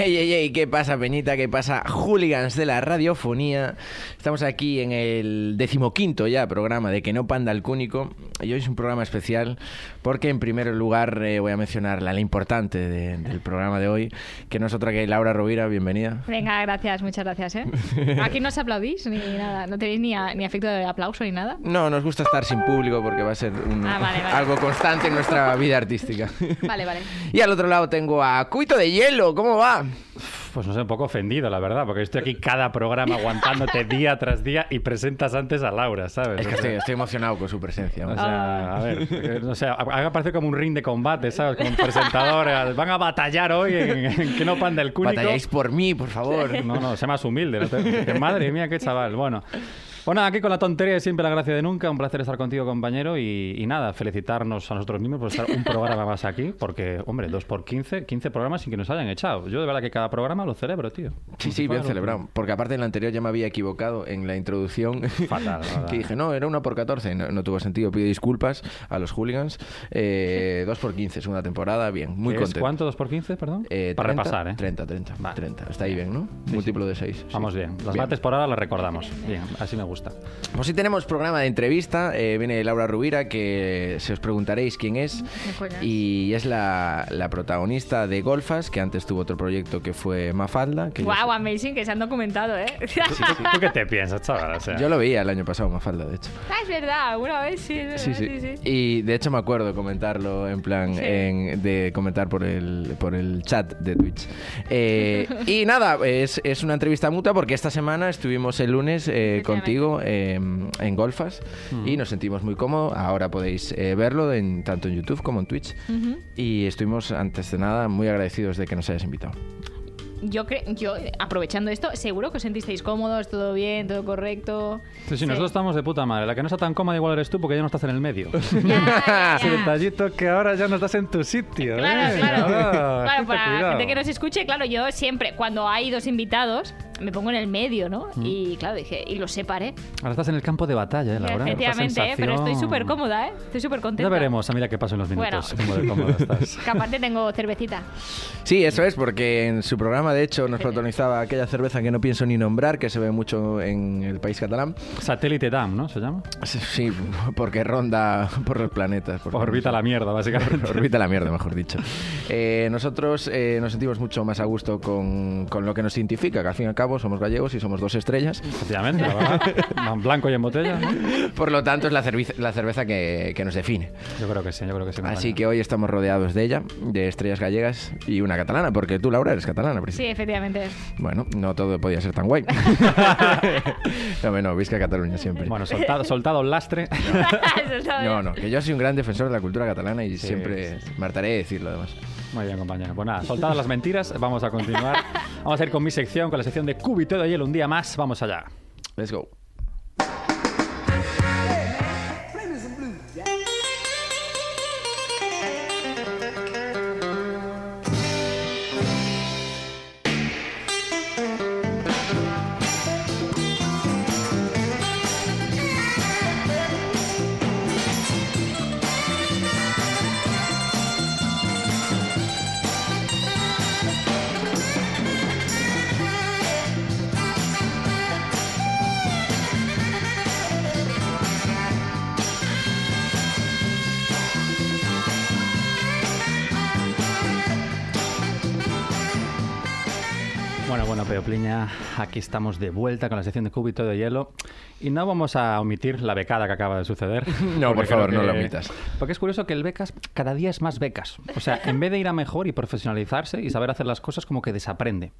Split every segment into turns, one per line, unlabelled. Ey, ey, ey, ¿qué pasa, Peñita? ¿Qué pasa, hooligans de la radiofonía? Estamos aquí en el decimoquinto ya programa de Que no panda el cúnico. Y hoy es un programa especial porque, en primer lugar, eh, voy a mencionar la la importante de- del programa de hoy, que no es otra que Laura Rovira. Bienvenida.
Venga, gracias, muchas gracias, ¿eh? Aquí no os aplaudís ni nada, no tenéis ni, a- ni afecto de aplauso ni nada.
No, nos gusta estar sin público porque va a ser un-
Ah, vale, vale.
algo constante en nuestra vida artística.
Vale, vale.
Y al otro lado tengo a Cuito de Hielo. ¿Cómo va?
Pues no sé, un poco ofendido, la verdad, porque estoy aquí cada programa aguantándote día tras día y presentas antes a Laura, ¿sabes?
Es que
O sea,
estoy, estoy emocionado con su presencia.
o sea, a ver, que- o sea, haga parecer como un ring de combate, ¿sabes? Como un presentador, eh, van a batallar hoy en, en que no panda el cúnico.
Batalláis por mí, por favor.
No, no, sea más humilde. no te- que madre mía, qué chaval. Bueno, pues nada, aquí con la tontería de siempre la gracia de nunca. Un placer estar contigo, compañero. Y, y nada, felicitarnos a nosotros mismos por estar un programa más aquí. Porque, hombre, dos por 15, 15 programas sin que nos hayan echado. Yo de verdad que cada programa lo celebro, tío.
Sí, sí, bien celebrado. Porque aparte en la anterior ya me había equivocado en la introducción.
Fatal, fatal.
que dije, no, era una por 14. No, no tuvo sentido. Pido disculpas a los hooligans. Eh, dos por 15, segunda temporada. Bien, muy
¿Es
contento.
¿Cuánto? ¿Dos por 15, perdón?
Eh,
Para
30,
repasar, ¿eh?
30, 30,
Vale.
30. Está ahí bien, ¿no? Múltiplo de 6.
Vamos bien. Las mates por ahora las recordamos. Bien, así me gusta.
Pues sí tenemos programa de entrevista. Eh, viene Laura Rubira, que se os preguntaréis quién es.
coño es?
Y es la, la protagonista de Golfas, que antes tuvo otro proyecto que fue Mafalda. Que yo-
Wow, amazing, que se han documentado, ¿eh?
¿Tú, tú qué te piensas, chaval? O sea,
yo, lo veía el año pasado, Mafalda, de hecho.
Ah, es verdad, una vez sí, es
Sí,
verdad,
sí.
sí, sí.
Y de hecho me acuerdo comentarlo en plan
Sí.
en- de comentar por el, por el chat de Twitch. Eh, y nada, es, es una entrevista mutua porque esta semana estuvimos el lunes eh,
Efectivamente.
contigo eh, en Golfas y nos sentimos muy cómodos. Ahora podéis eh, verlo en, tanto en YouTube como en Twitch. Y estuvimos antes de nada muy agradecidos de que nos hayas invitado.
Yo, cre- yo, eh, aprovechando esto, seguro que os sentisteis cómodos, todo bien, todo correcto.
sí,
Pues
sí, nosotros estamos de puta madre. La que no está tan cómoda igual eres tú porque ya no estás en el medio.
Ya,
Ese
ya,
¿eh?
ya.
detallito que ahora ya no estás en tu sitio,
Claro,
¿eh?
claro.
Ahora,
Claro,
gente,
para la
cuidado.
gente que nos escuche, claro, yo siempre, cuando hay dos invitados, me pongo en el medio, ¿no?
Mm.
Y claro, dije, y los separé.
Ahora estás en el campo de batalla, ¿eh, Laura?
Efectivamente,
Esta
¿eh? pero estoy
sensación.
súper cómoda, ¿eh? Estoy súper contenta.
Ya veremos, a mira qué pasa en los minutos.
Bueno.
Cómo de cómoda estás.
Que aparte tengo cervecita.
Sí, eso es, porque en su programa, de hecho, nos protagonizaba aquella cerveza que no pienso ni nombrar, que se ve mucho en el país catalán.
Satélite DAM, ¿no? ¿Se llama?
Sí, Sí, porque ronda por los planetas. por-
Orbita la mierda, básicamente.
Orbita la mierda, mejor dicho. Eh, nosotros eh, nos sentimos mucho más a gusto con, con lo que nos identifica, que al fin y al cabo somos gallegos y somos dos estrellas.
Efectivamente, la verdad. En blanco y en botella.
Por lo tanto, es la, cerviz- la cerveza que, que nos define.
Yo creo que sí, yo creo que
Así
sí. compañero.
que hoy estamos rodeados de ella, de estrellas gallegas y una catalana, porque tú, Laura, eres catalana.
Sí,
principio.
efectivamente.
Bueno, no todo podía ser tan guay. no, hombre, no, visca Cataluña siempre.
Bueno, soltado, soltado el lastre.
Eso está bien.
No, no, que yo soy un gran defensor de la cultura catalana y siempre me hartaré de decirlo, además.
Muy bien, compañero. Pues nada, soltadas las mentiras, vamos a continuar. Vamos a ir con mi sección, con la sección de Cúbito de Hielo. Un día más, vamos allá.
Let's go.
Thank
Bueno, bueno, Peopliña, aquí estamos de vuelta con la sección de cúbito de hielo y no vamos a omitir la becada que acaba de suceder.
No, por
porque creo
favor, no
que-
la omitas.
Porque es curioso que el becas cada día es más becas. O sea, en vez de ir a mejor y profesionalizarse y saber hacer las cosas, como que desaprende.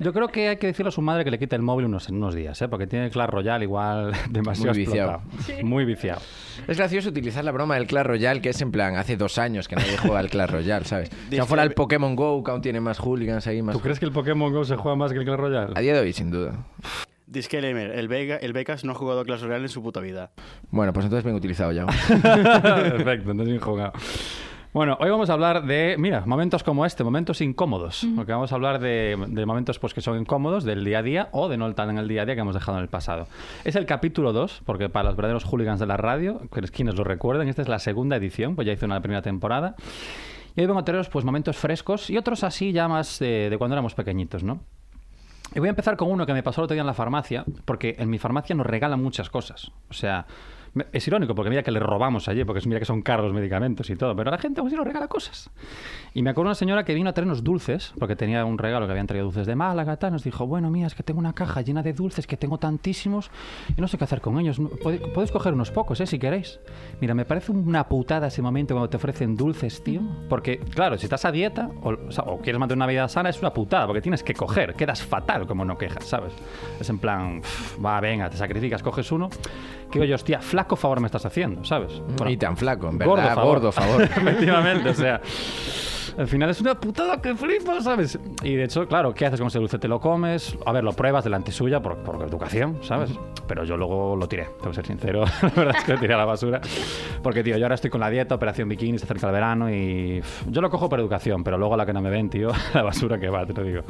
Yo creo que hay que decirle a su madre que le quite el móvil unos, unos días, ¿eh? porque tiene el Clash Royale igual demasiado
Muy viciado.
explotado. Muy viciado.
Es gracioso utilizar la broma del Clash Royale, que es en plan, hace dos años que nadie juega al Clash Royale, ¿sabes? Si no fuera el Pokémon GO, que aún tiene más hooligans ahí, más...
¿Tú crees que el Pokémon GO se juega más que el Clash Royale?
A día de hoy, sin duda.
Disclaimer, el, Vega, el Becas no ha jugado a Clash Royale en su puta vida.
Bueno, pues entonces bien utilizado ya.
Perfecto, entonces bien jugado. Bueno, hoy vamos a hablar de, mira, momentos como este, momentos incómodos. Porque vamos a hablar de, de momentos pues, que son incómodos del día a día o de no tan en el día a día que hemos dejado en el pasado. Es el capítulo 2, porque para los verdaderos hooligans de la radio, que es quienes lo recuerden, esta es la segunda edición, pues ya hice una primera temporada. Y hoy vengo a traeros pues, momentos frescos y otros así ya más de, de cuando éramos pequeñitos, ¿no? Y voy a empezar con uno que me pasó el otro día en la farmacia, porque en mi farmacia nos regalan muchas cosas. O sea, me- es irónico, porque mira que le robamos allí, porque es- mira que son caros los medicamentos y todo, pero la gente pues sí nos regala cosas. Y me acuerdo una señora que vino a traernos dulces, porque tenía un regalo que habían traído dulces de Málaga, tal, nos dijo, bueno, mira, es que tengo una caja llena de dulces, que tengo tantísimos, y no sé qué hacer con ellos. No- pode- Podéis coger unos pocos, ¿eh? Si queréis. Mira, me parece una putada ese momento cuando te ofrecen dulces, tío, porque, claro, si estás a dieta o, o sea, o quieres mantener una vida sana, es una putada, porque tienes que coger, quedas fatal como no quejas, ¿sabes? Es en plan, "Pff, va, venga, te sacrificas, coges uno, que oye, hostia, flaco favor me estás haciendo, ¿sabes? Bueno,
Y Mm. tan flaco, en
Gordo
verdad,
favor.
gordo, favor.
Efectivamente, o sea. Al final es una putada que flipas, ¿sabes? Y de hecho, claro, ¿qué haces con ese dulce? Te lo comes, a ver, lo pruebas delante suya por, por educación, ¿sabes? Pero yo luego lo tiré, tengo que ser sincero, la verdad es que lo tiré a la basura. Porque, tío, yo ahora estoy con la dieta, operación bikini, se acerca el verano y pff, yo lo cojo por educación, pero luego a la que no me ven, tío, la basura que va, te lo digo.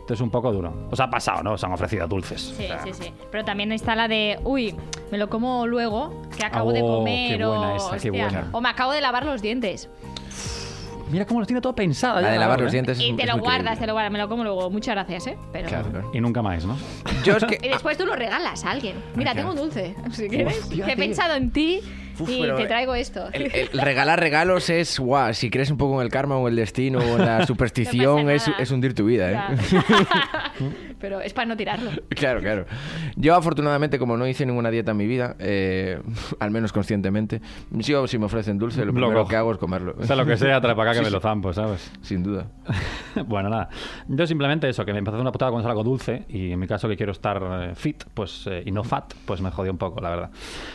Entonces, un poco duro. Os ha pasado, ¿no? Os han ofrecido dulces.
Sí,
O sea,
sí, sí. Pero también está la de, uy, me lo como luego, que acabo de
Oh,
comer.
qué buena
o,
esa, qué
hostia,
buena.
o me acabo de lavar los dientes.
Mira cómo los tiene todo pensado.
La de lavar los dientes es
Y
un-
te
es
lo
muy
guardas, te
creíble.
lo guardas, me lo como luego. Muchas gracias, ¿eh? Pero...
Claro.
Y nunca más, ¿no?
Yo es
Y
que...
después tú lo regalas a alguien. Mira,
claro.
tengo un dulce, si quieres.
Hostia,
que he
tío.
pensado en ti
Uf,
y
pero,
te
eh,
traigo esto.
El, el regalar regalos es, guau, si crees un poco en el karma o el destino o en la
No
superstición,
pasa
es,
nada.
es hundir tu vida, ¿eh?
Ya. pero es para no tirarlo.
Claro, claro. Yo afortunadamente, como no hice ninguna dieta en mi vida, eh, al menos conscientemente, yo si me ofrecen dulce, lo
Lo
primero
cojo.
que hago es comerlo.
O sea, lo que sea, trae para acá
Sí,
que me
sí.
lo zampo, ¿sabes?
Sin duda.
bueno, nada. Yo simplemente eso, que me empezó a hacer una putada cuando es algo dulce y en mi caso que quiero estar eh, fit pues eh, y no fat, pues me jodió un poco, la verdad.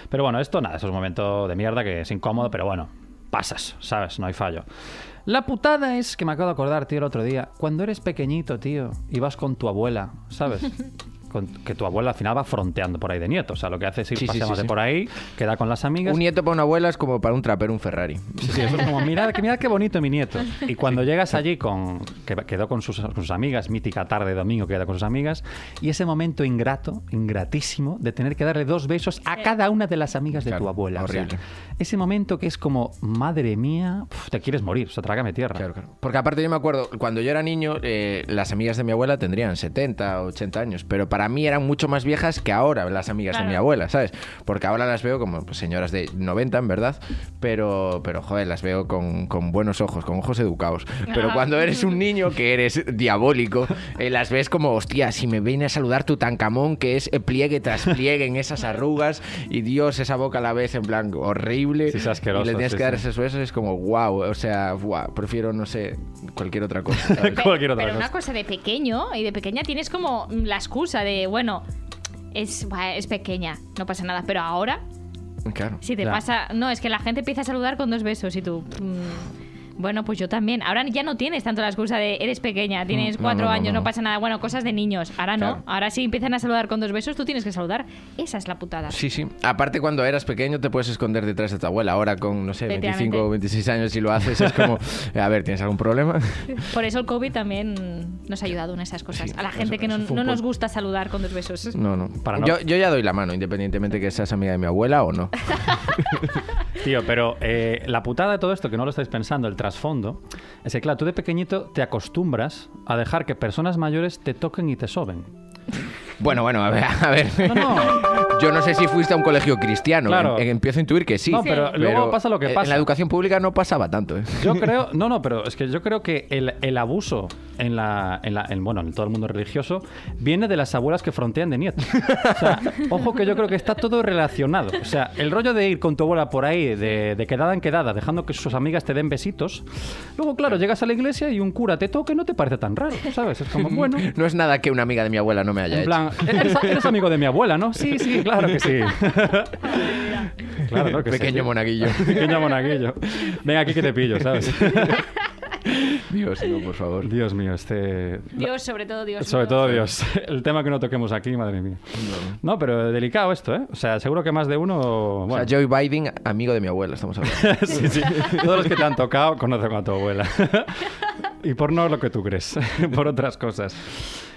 Pero bueno, esto nada, eso es un momento de mierda que es incómodo, pero bueno, pasas, ¿sabes? No hay fallo. La putada es que me acabo de acordar, tío, el otro día, cuando eres pequeñito, tío, y vas con tu abuela, ¿sabes? Con- que tu abuela al final va fronteando por ahí de nieto. O sea, lo que hace es ir
Sí, sí, sí,
paseándose
sí.
por ahí, queda con las amigas.
Un nieto para una abuela es como para un trapero un Ferrari.
Sí, sí, eso es como, mirad, que- mirad qué bonito mi nieto. Y cuando llegas allí, con, que quedó con sus, con sus amigas, mítica tarde de domingo, queda con sus amigas, y ese momento ingrato, ingratísimo, de tener que darle dos besos a cada una de las amigas de
Claro,
tu abuela. O sea,
horrible.
ese momento que es como, madre mía, uf, te quieres morir, o sea, trágame tierra.
Claro, claro. Porque aparte yo me acuerdo, cuando yo era niño, eh, las amigas de mi abuela tendrían 70, 80 años, pero para mí eran mucho más viejas que ahora las amigas
Claro.
de mi abuela, ¿sabes? Porque ahora las veo como pues, señoras de 90, en verdad, pero, pero joder, las veo con, con buenos ojos, con ojos educados. Pero
Ah.
cuando eres un niño que eres diabólico, eh, las ves como, hostia, si me viene a saludar tu tancamón, que es eh, pliegue tras pliegue en esas arrugas, y Dios, esa boca la ves en plan horrible,
Sí, es asqueroso,
y le tienes
sí,
que dar
sí.
eso, eso es como wow, o sea, wow, prefiero, no sé, cualquier otra cosa. ¿sabes?
Pe-
Cualquier otra
pero
cosa.
una cosa de pequeño y de pequeña tienes como la excusa de, bueno, es, buah, es pequeña, no pasa nada. Pero ahora,
claro.
si te
Claro.
pasa. No, es que la gente empieza a saludar con dos besos y tú. mm, bueno, pues yo también. Ahora ya no tienes tanto la excusa de eres pequeña, tienes
Mm, no,
cuatro
no, no,
años, no,
no.
pasa nada. Bueno, cosas de niños. Ahora
Claro.
no. Ahora sí empiezan a saludar con dos besos, tú tienes que saludar. Esa es la putada.
Sí, sí. Aparte, cuando eras pequeño te puedes esconder detrás de tu abuela. Ahora con, no sé, 25 o 26 años si lo haces es como, a ver, ¿tienes algún problema?
Por eso el COVID también nos ha ayudado en esas cosas.
Sí,
a la gente
eso-
que no,
eso fue un
no nos
punto.
gusta saludar con dos besos.
No, no.
Para no-
Yo, yo ya doy la mano, independientemente que seas amiga de mi abuela o no.
Tío, pero eh, la putada de todo esto, que no lo estáis pensando, el trasfondo, es que, claro, tú de pequeñito te acostumbras a dejar que personas mayores te toquen y te soben.
Bueno, bueno, a ver. A ver.
No, no.
Yo no sé si fuiste a un colegio cristiano.
Claro.
em- em- empiezo a intuir que sí.
No, pero luego pasa lo que
eh,
pasa.
En la educación pública no pasaba tanto, ¿eh?
Yo creo, no, no, pero es que yo creo que el, el abuso en la, en la- en, bueno, en todo el mundo religioso, viene de las abuelas que frontean de nietos. O sea, ojo que yo creo que está todo relacionado. O sea, el rollo de ir con tu abuela por ahí, de, de quedada en quedada, dejando que sus amigas te den besitos. Luego, claro, llegas a la iglesia y un cura te toca y no te parece tan raro, ¿sabes? Es como, bueno.
No es nada que una amiga de mi abuela no me haya
En
hecho.
plan, eres, eres amigo de mi abuela, ¿no? Sí, sí, claro que sí. Claro, claro que sí.
Pequeño monaguillo.
Pequeño monaguillo. Venga aquí que te pillo, ¿sabes?
Dios, no, por favor.
Dios mío, este...
Dios, sobre todo Dios.
Sobre
mío.
todo Dios. El tema que no toquemos aquí, madre mía. No, pero delicado esto, ¿eh? O sea, seguro que más de uno... Bueno,
O sea, Joe Biden, amigo de mi abuela, estamos hablando.
sí, sí. Todos los que te han tocado conocen a tu abuela. y por no lo que tú crees, por otras cosas.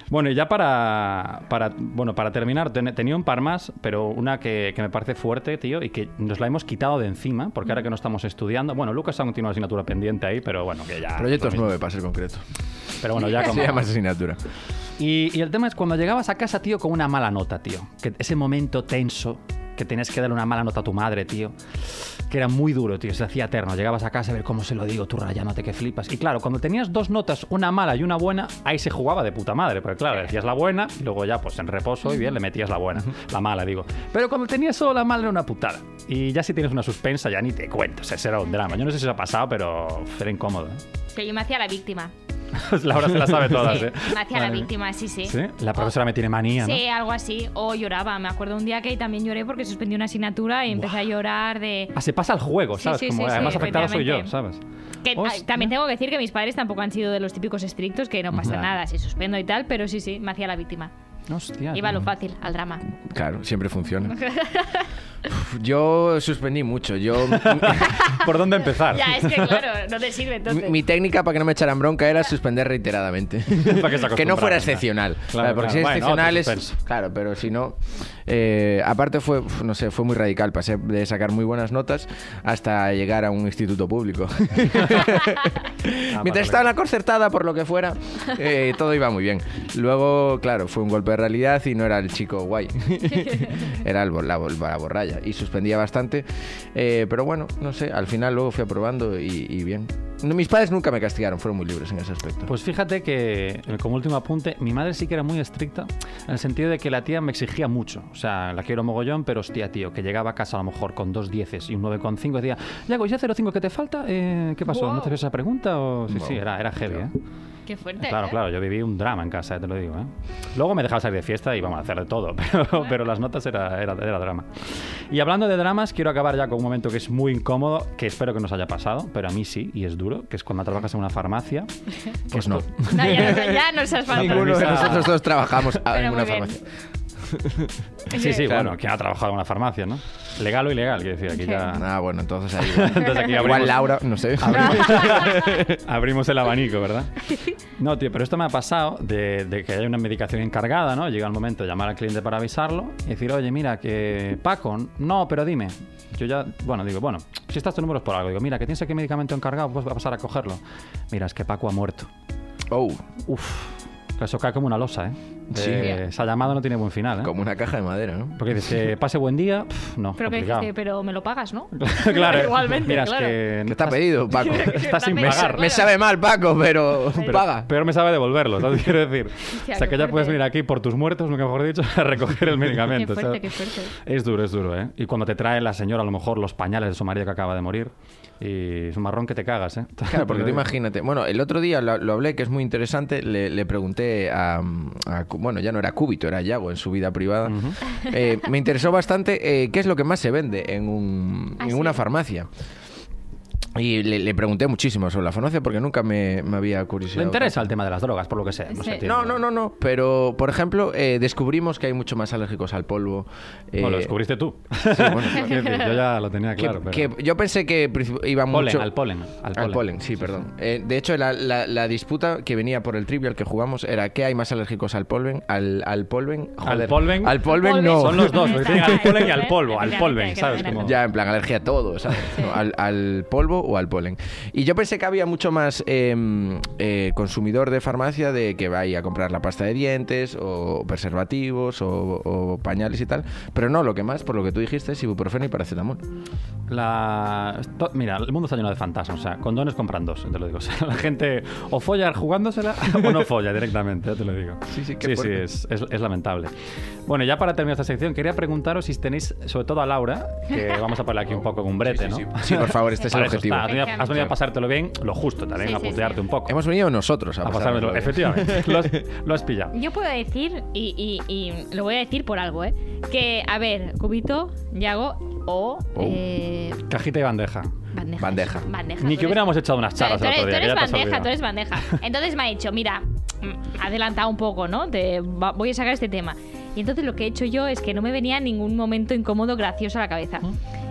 Bueno, y ya para, para, bueno, para terminar, ten- tenía un par más, pero una que, que me parece fuerte, tío, y que nos la hemos quitado de encima, porque ahora que no estamos estudiando, bueno, Lucas aún tiene una asignatura pendiente ahí, pero bueno, que ya...
Proyectos 9, para ser concreto.
Pero bueno, ya como...
Se llama asignatura.
Y, y el tema es cuando llegabas a casa, tío, con una mala nota, tío. Que ese momento tenso que tenías que darle una mala nota a tu madre, tío. Que era muy duro, tío. Se hacía eterno. Llegabas a casa a ver cómo se lo digo, tú rayándote que flipas. Y claro, cuando tenías dos notas, una mala y una buena, ahí se jugaba de puta madre. Porque claro, decías la buena y luego ya, pues en reposo y bien, le metías la buena. La mala, digo. Pero cuando tenías solo la mala era una putada. Y ya si tienes una suspensa, ya ni te cuento. O sea, ese era un drama. Yo no sé si os ha pasado, pero era incómodo. ¿eh?
Que yo me hacía la víctima.
Laura se la sabe todas,
Sí,
¿eh?
Me hacía
Madre
la
mía.
víctima, sí, sí.
Sí, la profesora me tiene manía, ¿no?
Sí, algo así. O lloraba. Me acuerdo un día que también lloré porque suspendí una asignatura y empecé a llorar de...
Ah, se pasa al juego,
Sí,
¿sabes?
sí,
Como,
sí, sí,
además afectado soy yo, ¿sabes?
efectivamente. Que, ah,
Hostia.
también tengo que decir que mis padres tampoco han sido de los típicos estrictos, que no pasa
Ujú.
nada, si suspendo y tal, pero sí, sí, me hacía la víctima.
Hostia.
Iba a lo
tío.
fácil, al drama.
Claro, siempre funciona. Uf, Yo suspendí mucho. Yo
¿Por dónde empezar?
Ya, es que claro, no te sirve
mi,
entonces.
mi técnica para que no me echaran bronca era suspender reiteradamente.
Para que se
que no fuera
acostumbraran,
excepcional.
claro.
¿sabes? porque
Claro,
si es
claro. Bueno,
excepcional
otro
es-
suspenso.
Claro, pero si no. eh, aparte fue, uf, no sé, fue muy radical. Pasé de sacar muy buenas notas hasta llegar a un instituto público.
vale.
Mientras estaba en la concertada, por lo que fuera, eh, todo iba muy bien. Luego, claro, fue un golpe de realidad y no era el chico guay. era el, bo- la, bo- la borralla. Y suspendía bastante. Eh, pero bueno, no sé, al final luego fui aprobando y, y bien. No, mis padres nunca me castigaron, fueron muy libres en ese aspecto.
Pues fíjate que, eh, como último apunte, mi madre sí que era muy estricta, en el sentido de que la tía me exigía mucho. O sea, la quiero mogollón, pero hostia, tío, que llegaba a casa a lo mejor con dos dieces y un 9,5, decía, Yago, ¿ya 0,5 que te falta? Eh, ¿Qué pasó? ¿No te esa pregunta? O... Sí, sí, era, era heavy, ¿eh?
Qué fuerte.
Claro,
¿eh?
claro, yo viví un drama en casa, eh, te lo digo. ¿eh? Luego me dejaba salir de fiesta y vamos a hacer de todo, pero, pero las notas era, era, era drama. Y hablando de dramas, quiero acabar ya con un momento que es muy incómodo, que espero que nos haya pasado, pero a mí sí, y es duro, que es cuando trabajas en una farmacia.
Pues no.
No, ya, no- ya nos has faltado.
Ninguno de
premisa-
nosotros dos trabajamos a-
Pero
en
muy
una
bien.
farmacia.
Sí, sí,
Claro.
bueno, quien ha trabajado en una farmacia, ¿no? Legal o ilegal, quiero decir, aquí ya...
Ah, bueno, entonces ahí. igual.
Entonces aquí
Igual
abrimos-
Laura, no sé.
Abrimos el abanico, ¿verdad? No, tío, pero esto me ha pasado de, de que hay una medicación encargada, ¿no? Llega el momento de llamar al cliente para avisarlo y decir, oye, mira, que Paco, no, pero dime. Yo ya, bueno, digo, bueno, si estás tu número es por algo. Digo, mira, que tienes aquí medicamento encargado, pues va a pasar a cogerlo. Mira, es que Paco ha muerto.
Oh,
Uf, eso cae como una losa, ¿eh?
Sí.
Eh, Esa llamada no tiene buen final, ¿eh?
como una caja de madera, ¿no?
Porque dices, eh, pase buen día, Pf, no,
Pero que
complicado.
dijiste, pero me lo pagas, ¿no?
claro,
Igualmente,
mira,
claro.
es que
¿Qué te ha pedido, Paco?
estás sin
Me-
pagar.
Me sabe mal, Paco, pero paga.
Peor me sabe devolverlo, ¿sabes? Quiero decir.
Hostia,
o sea,
qué
que ya
fuerte.
puedes venir aquí por tus muertos, nunca mejor dicho, a recoger el medicamento.
Qué fuerte,
¿sabes?
qué fuerte.
Es duro, es duro, ¿eh? Y cuando te trae la señora, a lo mejor, los pañales de su marido que acaba de morir. Y es un marrón que te cagas, ¿eh?
Claro, porque tú imagínate. Bueno, el otro día lo, lo hablé, que es muy interesante. Le, le pregunté a, a Cu- Bueno, ya no era Cúbito, era Yago en su vida privada. Eh, me interesó bastante eh, qué es lo que más se vende en, un-
Ah,
en
sí.
una farmacia. Y le, le pregunté muchísimo sobre la farmacia porque nunca me, me había
Le
curiosidad.
interesa el tema de las drogas, por lo que sea. No,
Sí.
sé, tío.
No, no, no, no. Pero, por ejemplo, eh, descubrimos que hay mucho más alérgicos al polvo. eh,
Bueno, lo descubriste tú.
Sí, bueno,
Quiero decir, yo ya lo tenía
que-
claro.
que
pero-
yo pensé que princip- iba
Polen,
mucho...
al polen, al polen.
sí, perdón. Eh, de hecho, la, la- la disputa que venía por el trivial que jugamos era ¿qué hay más alérgicos al polven? Al, al polven...
Al
joder,
polven.
Al polven no.
Son los dos, porque tienen al polen y al polvo.
Efectivamente,
Al polven, ¿sabes?
efectivamente.
Como-
Ya, en plan, alergia a todo, ¿sabes? No, al, al polvo o al polen. Y yo pensé que había mucho más eh, eh, consumidor de farmacia de que vaya a comprar la pasta de dientes o preservativos o, o pañales y tal, pero no, lo que más, por lo que tú dijiste, es ibuprofeno y paracetamol.
La... to- Mira, el mundo está lleno de fantasmas. O sea, condones compran dos, te lo digo. O sea, la gente o folla jugándosela o no folla directamente, ya te lo digo.
Sí, sí, qué
sí,
fuerte.
es, es- es lamentable. Bueno, ya para terminar esta sección, quería preguntaros si tenéis, sobre todo a Laura, que vamos a ponerle aquí un poco con brete,
Sí, sí,
¿no?
sí. Sí, por favor, este es el
Para eso
objetivo.
está, has venido- has venido a
Claro.
pasártelo bien, lo justo también,
Sí,
a
sí,
putearte
sí.
un poco.
Hemos venido nosotros a,
a
pasárnoslo
pasármelo,
bien.
efectivamente. lo, has, lo has pillado.
Yo puedo decir, y, y- y lo voy a decir por algo, ¿eh? Que, a ver, cubito, yago o
Oh.
eh,
Cajita y bandeja.
bandeja.
Bandeja.
Bandeja,
Ni
tú
que
eres-
hubiéramos echado unas
Tú eres,
charlas el otro día.
tú
que
eres
ya te has
bandeja,
olvidado.
tú eres bandeja. Entonces me ha dicho, mira, mm, adelanta un poco, ¿no? Te va- voy a sacar este tema. Y entonces lo que he hecho yo es que no me venía ningún momento incómodo gracioso a la cabeza.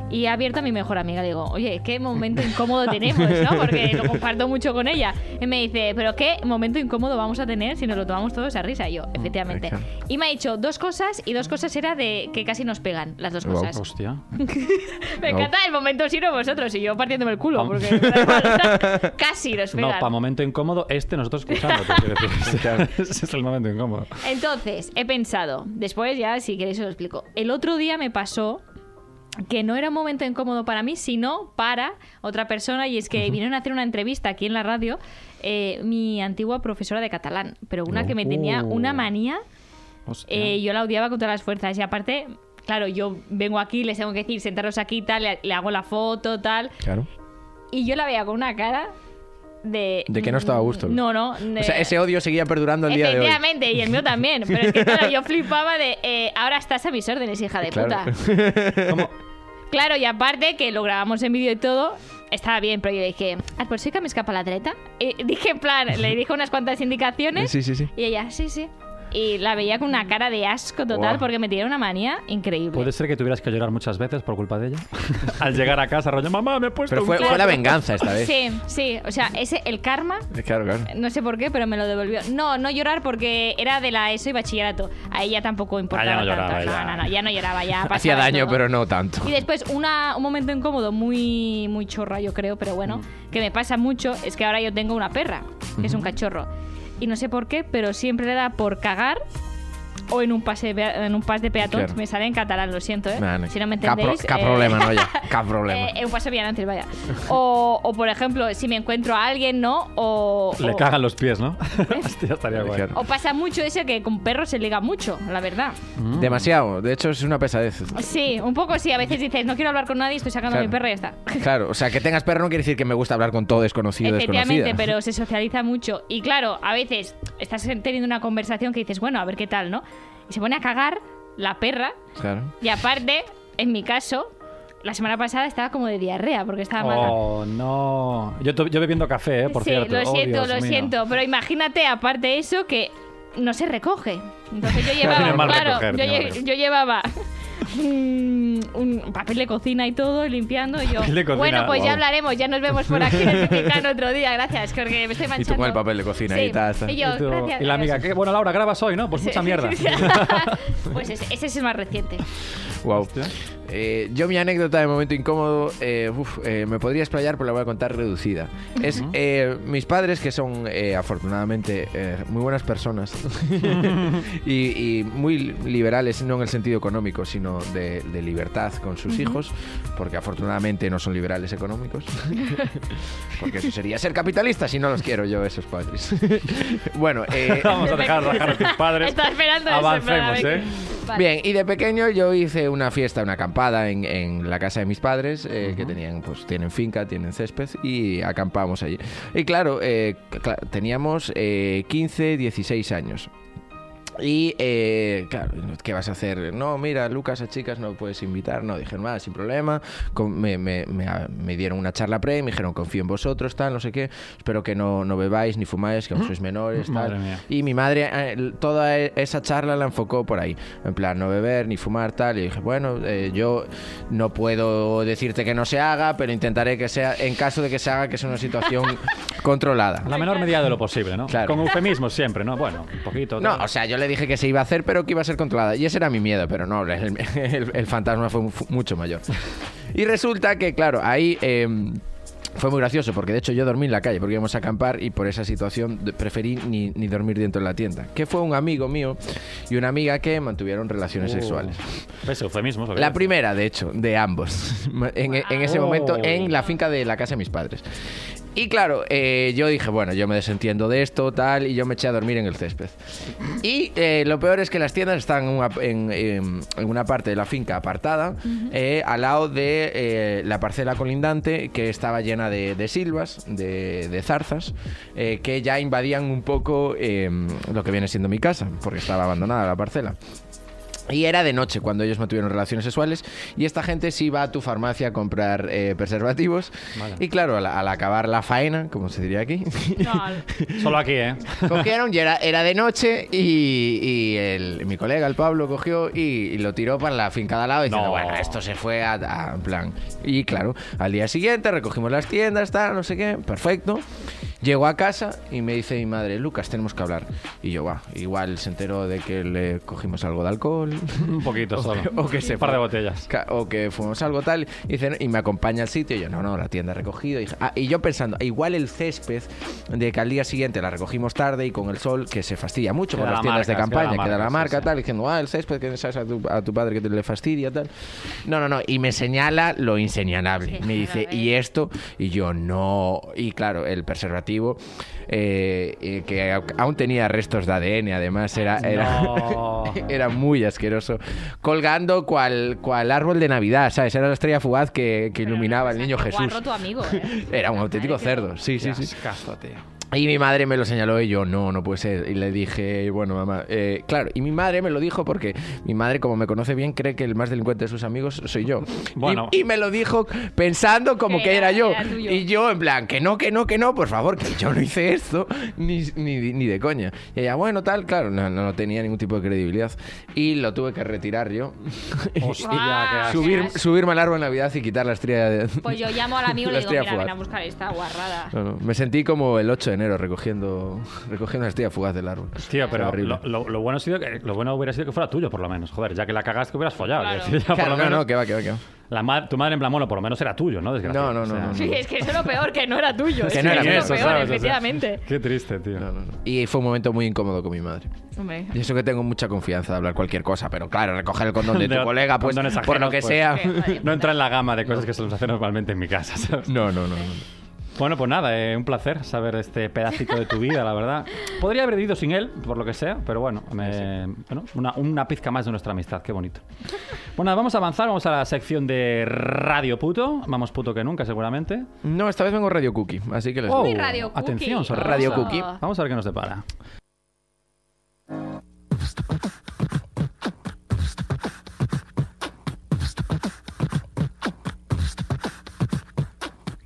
Y he abierto a mi mejor amiga. Digo, oye, qué momento incómodo tenemos, ¿no? Porque lo comparto mucho con ella. Y me dice, pero qué momento incómodo vamos a tener si nos lo tomamos todos a risa. Y yo, efectivamente.
exacto.
Y me ha dicho dos cosas y dos cosas era de que casi nos pegan, las dos
Wow.
cosas.
Hostia.
Me
No.
encanta el momento sino vosotros y yo partiéndome el culo,
Pam.
porque me da igual. casi los
No,
pegan.
para momento incómodo, este nosotros escuchando. te quiero decir. O sea, Ese es el momento incómodo.
Entonces, he pensado, después ya si queréis os lo explico. El otro día me pasó que no era un momento incómodo para mí, sino para otra persona, y es que vinieron a hacer una entrevista aquí en la radio eh, mi antigua profesora de catalán, pero una que me tenía
Oh.
una manía,
Hostia.
eh, yo la odiaba con todas las fuerzas, y aparte, claro, yo vengo aquí, les tengo que decir, sentaros aquí, tal, le- le hago la foto, tal,
Claro.
Y yo la veía con una cara de.
De que no estaba a gusto.
No, no. de-
O sea, ese odio seguía perdurando el día de hoy.
Eh, Efectivamente, y el mío también. Pero es que, claro, yo flipaba de. eh, ahora estás a mis órdenes, hija de
Claro.
puta. Claro, y aparte que lo grabamos en vídeo y todo. Estaba bien, pero yo dije, ¿ah, por si que me escapa la treta? Y dije, en plan, le dije unas cuantas indicaciones
Sí, sí, sí.
y ella, sí, sí. Y la veía con una cara de asco total
Buah.
porque me tenía una manía increíble.
¿Puede ser que tuvieras que llorar muchas veces por culpa de ella? Al llegar a casa, rollo, mamá, me he puesto
Pero
un
fue,
culo".
fue la venganza esta vez.
Sí, sí. O sea, ese, el karma
Claro, claro.
No sé por qué, pero me lo devolvió. No, no llorar porque era de la ESO y bachillerato. A ella tampoco importaba.
Ah,
no lloraba,
tanto.
ya.
No, no, no, ya no lloraba, ya
Hacía
pasaba
daño,
todo.
pero no tanto.
Y después una- un momento incómodo, muy, muy chorra yo creo, pero bueno,
Mm.
que me pasa mucho, es que ahora yo tengo una perra, que es un cachorro. Y no sé por qué, pero siempre le da por cagar o en un pase de- en un pas de peatón.
Claro.
Me sale en catalán, lo siento, ¿eh?
Nah, no.
Si no me
Ca pro-
entendéis...
ca
eh,
problema, no, ya. Ca problema.
eh, eh, un paso bien antes, vaya. O, o, por ejemplo, si me encuentro a alguien, ¿no? O,
Le
o-
cagan los pies, ¿no? Hostia, estaría guay.
Claro.
o pasa mucho eso que con perros se liga mucho, la verdad.
Mm. Demasiado. De hecho, es una pesadez.
Sí, un poco sí. A veces dices, no quiero hablar con nadie, estoy sacando
Claro.
a mi perro y ya está.
Claro, o sea, que tengas perro no quiere decir que me gusta hablar con todo desconocido o
Efectivamente,
desconocida.
pero se socializa mucho. Y claro, a veces estás teniendo una conversación que dices, bueno, a ver qué tal, ¿no? Y se pone a cagar la perra.
Claro.
Y aparte, en mi caso, la semana pasada estaba como de diarrea porque estaba mal.
Oh, no. Yo, to- yo bebiendo café, ¿eh? por
sí,
cierto.
lo
Oh,
siento,
Dios
lo
mío.
siento. Pero imagínate, aparte de eso, que no se recoge. Entonces yo
Tiene
llevaba,
mal
claro,
recoger,
yo,
tiene mal
lle-
recoger.
yo llevaba un, un papel de cocina y todo, y limpiando. Y yo,
Papel de cocina,
bueno, pues
wow.
ya hablaremos, ya nos vemos por aquí en el Titican otro día, gracias, porque me estoy manchando.
con el papel de cocina y
Sí.
tal, tal.
Y yo,
Y tú-
gracias.
y la amiga,
adiós".
¿qué? bueno, Laura, grabas hoy, ¿no? Pues
Sí.
mucha mierda.
pues ese, ese es el más reciente.
Wow.
Hostia.
Eh, yo mi anécdota de momento incómodo, eh, uf, eh, me podría explayar, pero la voy a contar reducida. Es eh, mis padres, que son eh, afortunadamente eh, muy buenas personas y, y muy liberales, no en el sentido económico, sino de, de libertad con sus hijos, porque afortunadamente no son liberales económicos, porque eso sería ser capitalista si no los quiero yo, esos padres. bueno, eh,
Vamos a dejar rajar a tus padres.
Estaba esperando eso,
Avancemos,
para
¿eh?
ver qué- Vale.
Bien, y de pequeño yo hice una fiesta, una acampada en, en la casa de mis padres, eh, que tenían, pues tienen finca, tienen césped, y acampamos allí. Y claro, eh, cla- teníamos eh, 15, 16 años. Y eh, claro, ¿qué vas a hacer? No, mira, Lucas, a chicas no puedes invitar. No, dijeron, nada, sin problema. Con- me, me- me- a- me dieron una charla pre, me dijeron, confío en vosotros, tal, no sé qué. Espero que no, no bebáis ni fumáis, que aún sois menores, tal.
Madre mía.
Y mi madre eh, l- toda e- esa charla la enfocó por ahí. En plan, no beber ni fumar, tal. Y dije, bueno, eh, yo no puedo decirte que no se haga, pero intentaré que sea, en caso de que se haga, que es una situación controlada.
La menor medida de lo posible, ¿no?
Claro.
Con eufemismos siempre, ¿no? Bueno, un poquito.
No,
tal.
o sea, yo le dije que se iba a hacer, pero que iba a ser controlada. Y ese era mi miedo, pero no, el, el- el fantasma fue mu- mucho mayor. Y resulta que, claro, ahí... eh, Fue muy gracioso porque de hecho yo dormí en la calle porque íbamos a acampar y por esa situación de- preferí ni, ni dormir dentro de la tienda. Que fue un amigo mío y una amiga que mantuvieron relaciones
Uh.
sexuales.
¿Ves? Eufemismos.
La
primera
primera, de hecho, de ambos. En, en ese
Wow.
momento, en la finca de la casa de mis padres. Y claro, eh, yo dije, bueno, yo me desentiendo de esto, tal, y yo me eché a dormir en el césped. Y eh, lo peor es que las tiendas están en una, en- en- en una parte de la finca apartada, eh, al lado de eh, la parcela colindante que estaba llena de, de silvas, de, de zarzas, eh, que ya invadían un poco eh, lo que viene siendo mi casa, porque estaba abandonada la parcela. Y era de noche cuando ellos mantuvieron relaciones sexuales y esta gente sí iba a tu farmacia a comprar eh, preservativos.
Vale.
Y claro, al, al acabar la faena, como se diría aquí,
Solo aquí, ¿eh?
cogieron y era, era de noche y, y el- mi colega, el Pablo, cogió y, y lo tiró para la finca de al lado diciendo,
No.
bueno, esto se fue a, a- en plan. Y claro, al día siguiente recogimos las tiendas, tal, no sé qué, perfecto. Llego a casa y me dice mi madre, Lucas, tenemos que hablar. Y yo, va, igual se enteró de que le cogimos algo de alcohol.
Un poquito solo.
o que se
Un par de
fue.
botellas.
Ca- o que fuimos algo tal y, dicen, y me acompaña al sitio y yo no no la tienda ha recogido y, ah, y yo pensando igual el césped de que al día siguiente la recogimos tarde y con el sol que se fastidia mucho
Queda
con las
la
tiendas de
marca, queda
campaña
la
queda la
marca, sí,
marca
sí.
tal diciendo ah el césped que sabes a tu, a tu padre que te le fastidia tal no no no y me señala lo inseñalable
Sí,
me dice
claro, ¿eh?
y esto y yo no y claro el preservativo eh, eh, que a- aún tenía restos de ADN además era, era
No.
era muy asqueroso. Colgando cual, cual árbol de Navidad, ¿sabes? Era la estrella fugaz que, que iluminaba al niño Jesús.
tu amigo, ¿eh?
Era un auténtico
Madre, qué
cerdo, sí, sí, sí.
Casco, tío.
Y mi madre me lo señaló y yo, no, no puede ser. Y le dije, bueno, mamá, eh, claro. Y mi madre me lo dijo porque mi madre, como me conoce bien, cree que el más delincuente de sus amigos soy yo.
Bueno.
Y, y me lo dijo pensando como
Que
que era,
era-
yo.
era tuyo.
y yo, en plan, que no, que no, que no, por favor, que yo no hice esto, ni, ni, ni de coña. Y ella, bueno, tal, claro, no, no, no tenía ningún tipo de credibilidad. Y lo tuve que retirar yo.
Hostia, qué
Ah,
asco.
Subir,
asco.
subirme al árbol en Navidad y quitar la estrella de...
Pues yo llamo al amigo y
La
le digo,
estrella
mira, ven
fugaz".
a buscar esta guarrada.
No, no, Me sentí como el 8 de enero recogiendo, recogiendo la estrella fugaz del árbol.
Tío, pero
Horrible.
lo, lo- lo bueno ha sido que, lo bueno hubiera sido que fuera tuyo, por lo menos. Joder, ya que la cagaste, que hubieras follado.
Claro.
quiero decir, ya por
Claro,
lo
no,
menos,
no, que va, que va, que va.
la ma- tu madre en plan, bueno, por lo menos era tuyo, ¿no? Desgraciado.
No, no, no, no,
Sí, es que eso es lo peor, que no era tuyo.
Que
es
no
que
era
eso
mío,
es lo peor,
¿sabes? O sea,
efectivamente.
Qué triste, tío.
No, no, no. Y fue un momento muy incómodo con mi madre.
Hombre.
Y eso que tengo mucha confianza de hablar cualquier cosa, pero claro, recoger el condón de
De
tu colega, pues
condones
por lo
ajenos,
que
pues.
sea.
Sí.
No entra en la gama de cosas que se nos hace normalmente en mi casa, ¿sabes?
No, no, no. no.
Bueno, pues nada, eh, un placer saber este pedacito de tu vida, la verdad. Podría haber vivido sin él, por lo que sea, pero bueno, me- bueno, una, una pizca más de nuestra amistad, qué bonito. Bueno, vamos a avanzar, vamos a la sección de Radio Puto, más puto que nunca seguramente.
No, esta vez vengo Radio Cookie, así que les
Oh,
doy.
Uy, Radio Cookie.
Atención, sorpresa.
Radio Cookie.
Vamos a ver qué nos depara.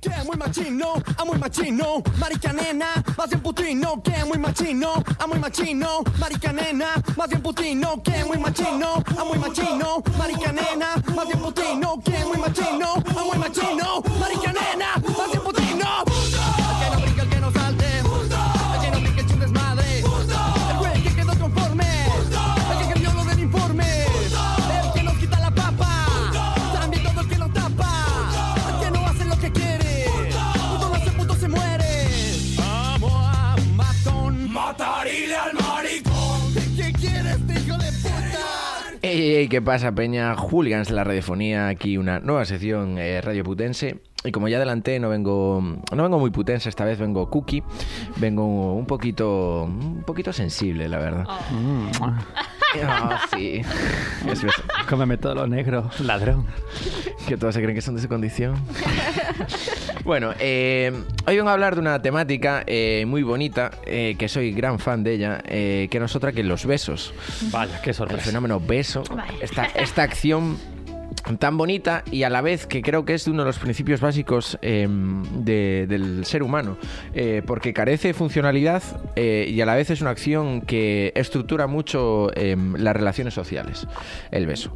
Que muy machino, a muy machino, marica nena, más bien putino, que muy machino, a muy machino, marica nena, más bien putino, que muy machino, a muy machino, marica nena, más bien putino, que muy machino, a muy machino, marica nena, más bien putino. El que no brinca, el que no salte, el que no pique es un desmadre, el güey que quedó conforme, el que creyó lo del informe, el que nos quita la papa, también todo el que nos tapa, el que no hace lo que quiere, puto no hace, puto se muere. Vamos a matón, matarile al maricón. ¿Qué quieres, hijo de puta?
Ey, ey, ey, ¿qué pasa, Peña? Hooligans de la radiofonía, aquí una nueva sección eh, Radio Putense. Y como ya adelanté, no vengo, no vengo muy putense, esta vez vengo cookie. Vengo un poquito, un poquito sensible, la verdad. Mm. Ah, sí. Es verdad.
Cómeme todo lo negro, ladrón.
Que todos se creen que son de su condición. bueno, eh, hoy vengo a hablar de una temática eh, muy bonita, eh, que soy gran fan de ella, eh, que no es otra que los besos.
Vaya, qué
El
sorpresa.
fenómeno beso, esta, esta acción tan bonita y a la vez que creo que es uno de los principios básicos eh, de- del ser humano, eh, porque carece de funcionalidad eh, y a la vez es una acción que estructura mucho eh, las relaciones sociales, el beso.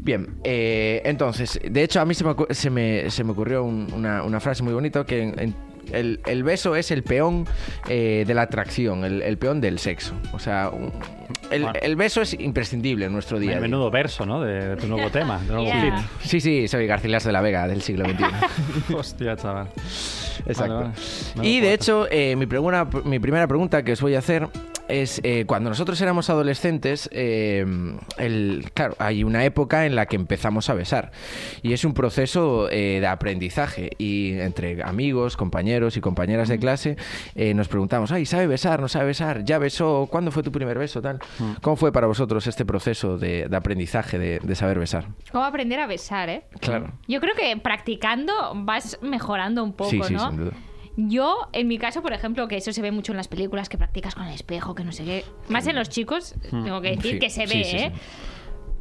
Bien, eh, entonces, de hecho a mí se me, ocu- se me, se me ocurrió un- una, una frase muy bonita que en- en- el, el beso es el peón eh, de la atracción, el, el peón del sexo. O sea, un- el,
Bueno.
el beso es imprescindible en nuestro día. a
Men-
día.
Menudo verso, ¿no? De, de tu nuevo tema, de nuevo
Yeah.
hit.
Sí, sí, soy Garcilas de la Vega del siglo XXI.
Hostia, chaval.
Exacto.
Vale, vale. Menudo
Y de
poeta.
hecho, eh, mi, primera, mi primera pregunta que os voy a hacer es, eh, cuando nosotros éramos adolescentes, eh, el, claro, hay una época en la que empezamos a besar. Y es un proceso eh, de aprendizaje. Y entre amigos, compañeros y compañeras de clase, eh, nos preguntamos, ay, ¿sabe besar? ¿No sabe besar? ¿Ya besó? ¿Cuándo fue tu primer beso? Tal. ¿Cómo fue para vosotros este proceso de, de aprendizaje, de, de saber besar?
¿Cómo aprender a besar, eh?
Claro.
Yo creo que practicando vas mejorando un poco,
sí, sí,
¿no?
sin duda.
Yo, en mi caso, por ejemplo, que eso se ve mucho en las películas, que practicas con el espejo, que no sé qué. Más en los chicos, tengo que
Hmm.
decir
Sí,
que se
sí,
ve,
sí,
¿eh?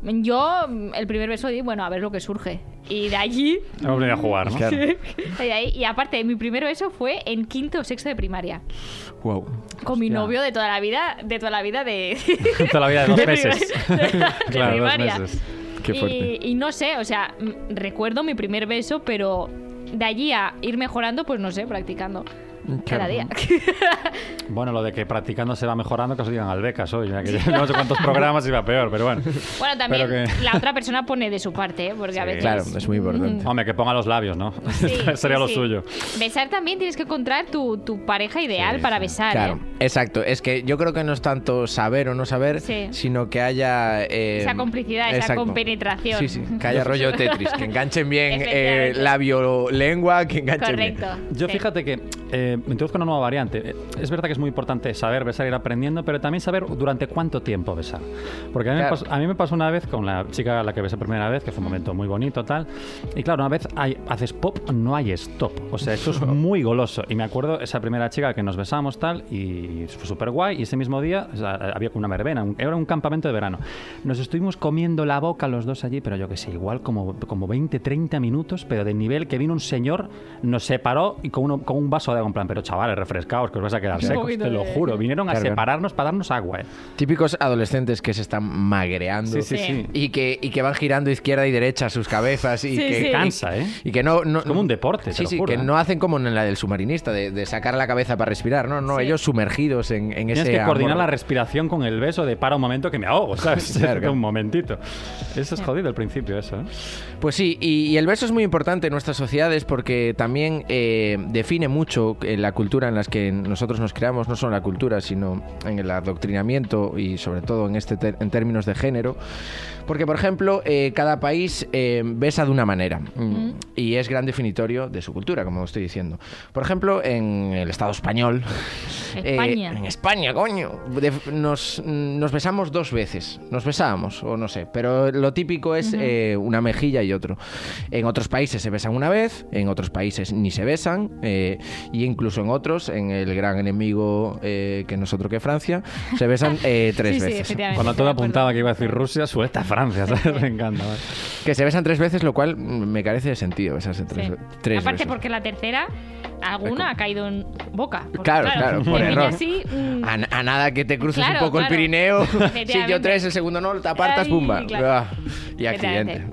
Yo, mm, el primer beso, di, bueno, a ver lo que surge. Y de allí,
Hemos venido a jugar, ¿no?
Claro.
y, de ahí- y aparte, mi primer beso fue en quinto o sexto de primaria.
Wow.
Con mi
Hostia.
novio de toda la vida, de toda la vida de...
Toda la vida de dos
de
meses.
primaria. De
claro, dos
primaria.
meses.
Qué
Y-
fuerte.
Y, no sé, o sea, mm, recuerdo mi primer beso, pero de allí a ir mejorando, pues no sé, practicando. Cada
Mm,
Claro.
día.
Bueno, lo de que practicando se va mejorando, que os digan al becas hoy. ya que no sé cuántos programas iba peor, pero bueno.
Bueno, también
Pero que-
la otra persona pone de su parte, ¿eh? porque a
Sí,
veces...
Claro, es muy importante.
Hombre, que ponga los labios, ¿no?
Sí,
Sería
sí,
lo
sí.
suyo.
Besar también tienes que encontrar tu, tu pareja ideal
Sí,
para
sí.
besar.
Claro,
¿eh?
exacto. Es que yo creo que no es tanto saber o no saber,
Sí.
sino que haya... eh,
Esa complicidad, esa compenetración.
Sí, sí, que haya rollo Tetris, que enganchen bien eh,
Efectivamente.
labio-lengua, que enganchen
Correcto.
Yo
Sí.
fíjate que eh, me introduzco una nueva variante. Eh, Es verdad que es muy importante saber besar, ir aprendiendo, pero también saber durante cuánto tiempo besar. Porque a mí, me,
Claro.
pasó, a mí me pasó una vez con la chica a la que besé por primera vez, que fue un momento muy bonito, tal. Y claro, una vez hay- haces pop, no hay stop. O sea, eso es muy goloso. Y me acuerdo esa primera chica que nos besamos, tal, y fue súper guay. Y ese mismo día o sea, había como una verbena, un- era un campamento de verano. Nos estuvimos comiendo la boca los dos allí, pero yo que sé, igual como, como 20, 30 minutos, pero de nivel que vino un señor, nos separó y con, uno- con un vaso de agua, en plan, pero chavales, refrescaos, que os vais a quedar secos,
poquito
te lo
de-
juro. Vinieron a
Claro, claro.
separarnos para darnos agua, eh.
bien. Típicos adolescentes que se están magreando.
Sí, sí, sí.
Y que, y que van girando izquierda y derecha sus cabezas y
Sí,
que
sí.
Cansa, ¿eh?
Y que no, no-
Es como un deporte, te
Sí,
lo
sí,
juro,
que
¿eh?
no hacen como en la del submarinista, de, de sacar la cabeza para respirar. No, no,
Sí.
ellos sumergidos en, en ese.
Tienes que coordinar la
amor.
respiración con el beso de para un momento que me ahogo, ¿sabes?
Claro, claro.
un momentito. Eso es jodido al principio, eso. ¿eh?
Pues sí, y, y el verso es muy importante en nuestras sociedades porque también eh, define mucho eh, la cultura en las que nosotros nos creamos, no solo la cultura, sino en el adoctrinamiento y sobre todo en, este ter- en términos de género. Porque, por ejemplo, eh, cada país eh, besa de una manera mm, y es gran definitorio de su cultura, como estoy diciendo. Por ejemplo, en el Estado español... eh,
España.
en España, coño. Def- nos, mm, nos besamos dos veces. Nos besábamos, o no sé. Pero lo típico es eh, una mejilla y otro. En otros países se besan una vez, en otros países ni se besan. eh, y incluso en otros, en el gran enemigo eh, que nosotros que Francia, se besan eh, tres
Sí, sí,
veces.
efectivamente,
Cuando
estoy
todo
de acuerdo.
apuntaba que iba a decir Rusia, suelta Francia, ¿sabes? Me encanta. vale.
que se besan tres veces, lo cual mm, me carece de sentido besarse tres,
Sí.
ve- tres
Aparte,
veces.
porque la tercera, alguna ha caído en boca. Porque,
Claro, claro,
te
por
pilla
error. Ah,
así, mm,
A, a nada que te cruces
Claro,
un poco
claro.
el Pirineo, si yo
Efectivamente.
tres, el segundo no, te apartas,
Ay,
pumba.
claro.
Ah, Y accidente.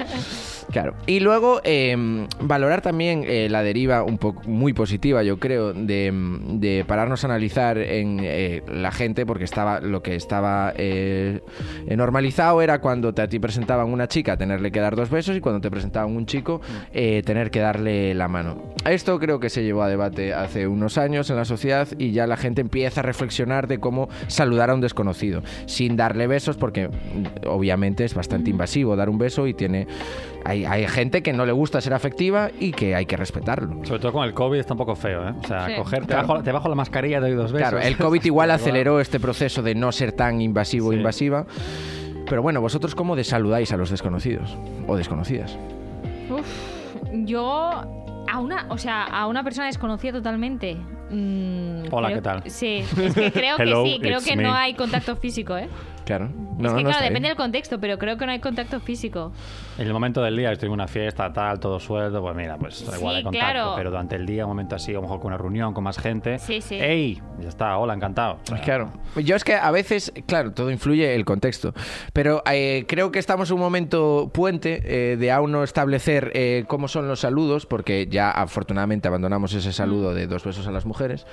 claro. Y luego eh, valorar también eh, la deriva un poco muy positiva, yo creo, de, de pararnos a analizar en eh, la gente, porque estaba lo que estaba eh, eh, normalizado era cuando te, a ti presentaban una chica tenerle que dar dos besos y cuando te presentaban un chico
Mm.
eh, tener que darle la mano. Esto creo que se llevó a debate hace unos años en la sociedad y ya la gente empieza a reflexionar de cómo saludar a un desconocido sin darle besos porque mm, obviamente es bastante invasivo dar un beso y tiene hay, hay gente que no le gusta ser afectiva y que hay que respetarlo.
Sobre todo con el COVID está un poco feo, ¿eh? O sea,
Sí.
coger, te, bajo, te bajo la mascarilla, te doy dos besos.
Claro, el COVID igual
Hostia,
aceleró este proceso de no ser tan invasivo o
Sí.
invasiva. Pero bueno, vosotros cómo desaludáis a los desconocidos o desconocidas.
Yo a una, o sea, a una persona desconocida totalmente. mm,
Hola,
creo-
¿qué tal?
Sí, es que creo que
Hello,
sí, creo
it's
que
me.
no hay contacto físico, ¿eh?
Claro. No, no,
es
no
que, claro,
está
depende
bien.
del contexto, pero creo que no hay contacto físico.
En el momento del día, estoy en una fiesta, tal, todo sueldo, pues mira, pues da igual
Sí,
hay contacto.
claro.
Pero durante el día, un momento así, a lo mejor con una reunión, con más gente.
Sí, sí.
¡Ey! Ya está, hola, encantado.
Claro. Yo es que a veces, claro, todo influye el contexto, pero eh, creo que estamos en un momento puente eh, de aún no establecer eh, cómo son los saludos, porque ya afortunadamente abandonamos ese saludo de dos besos a las mujeres,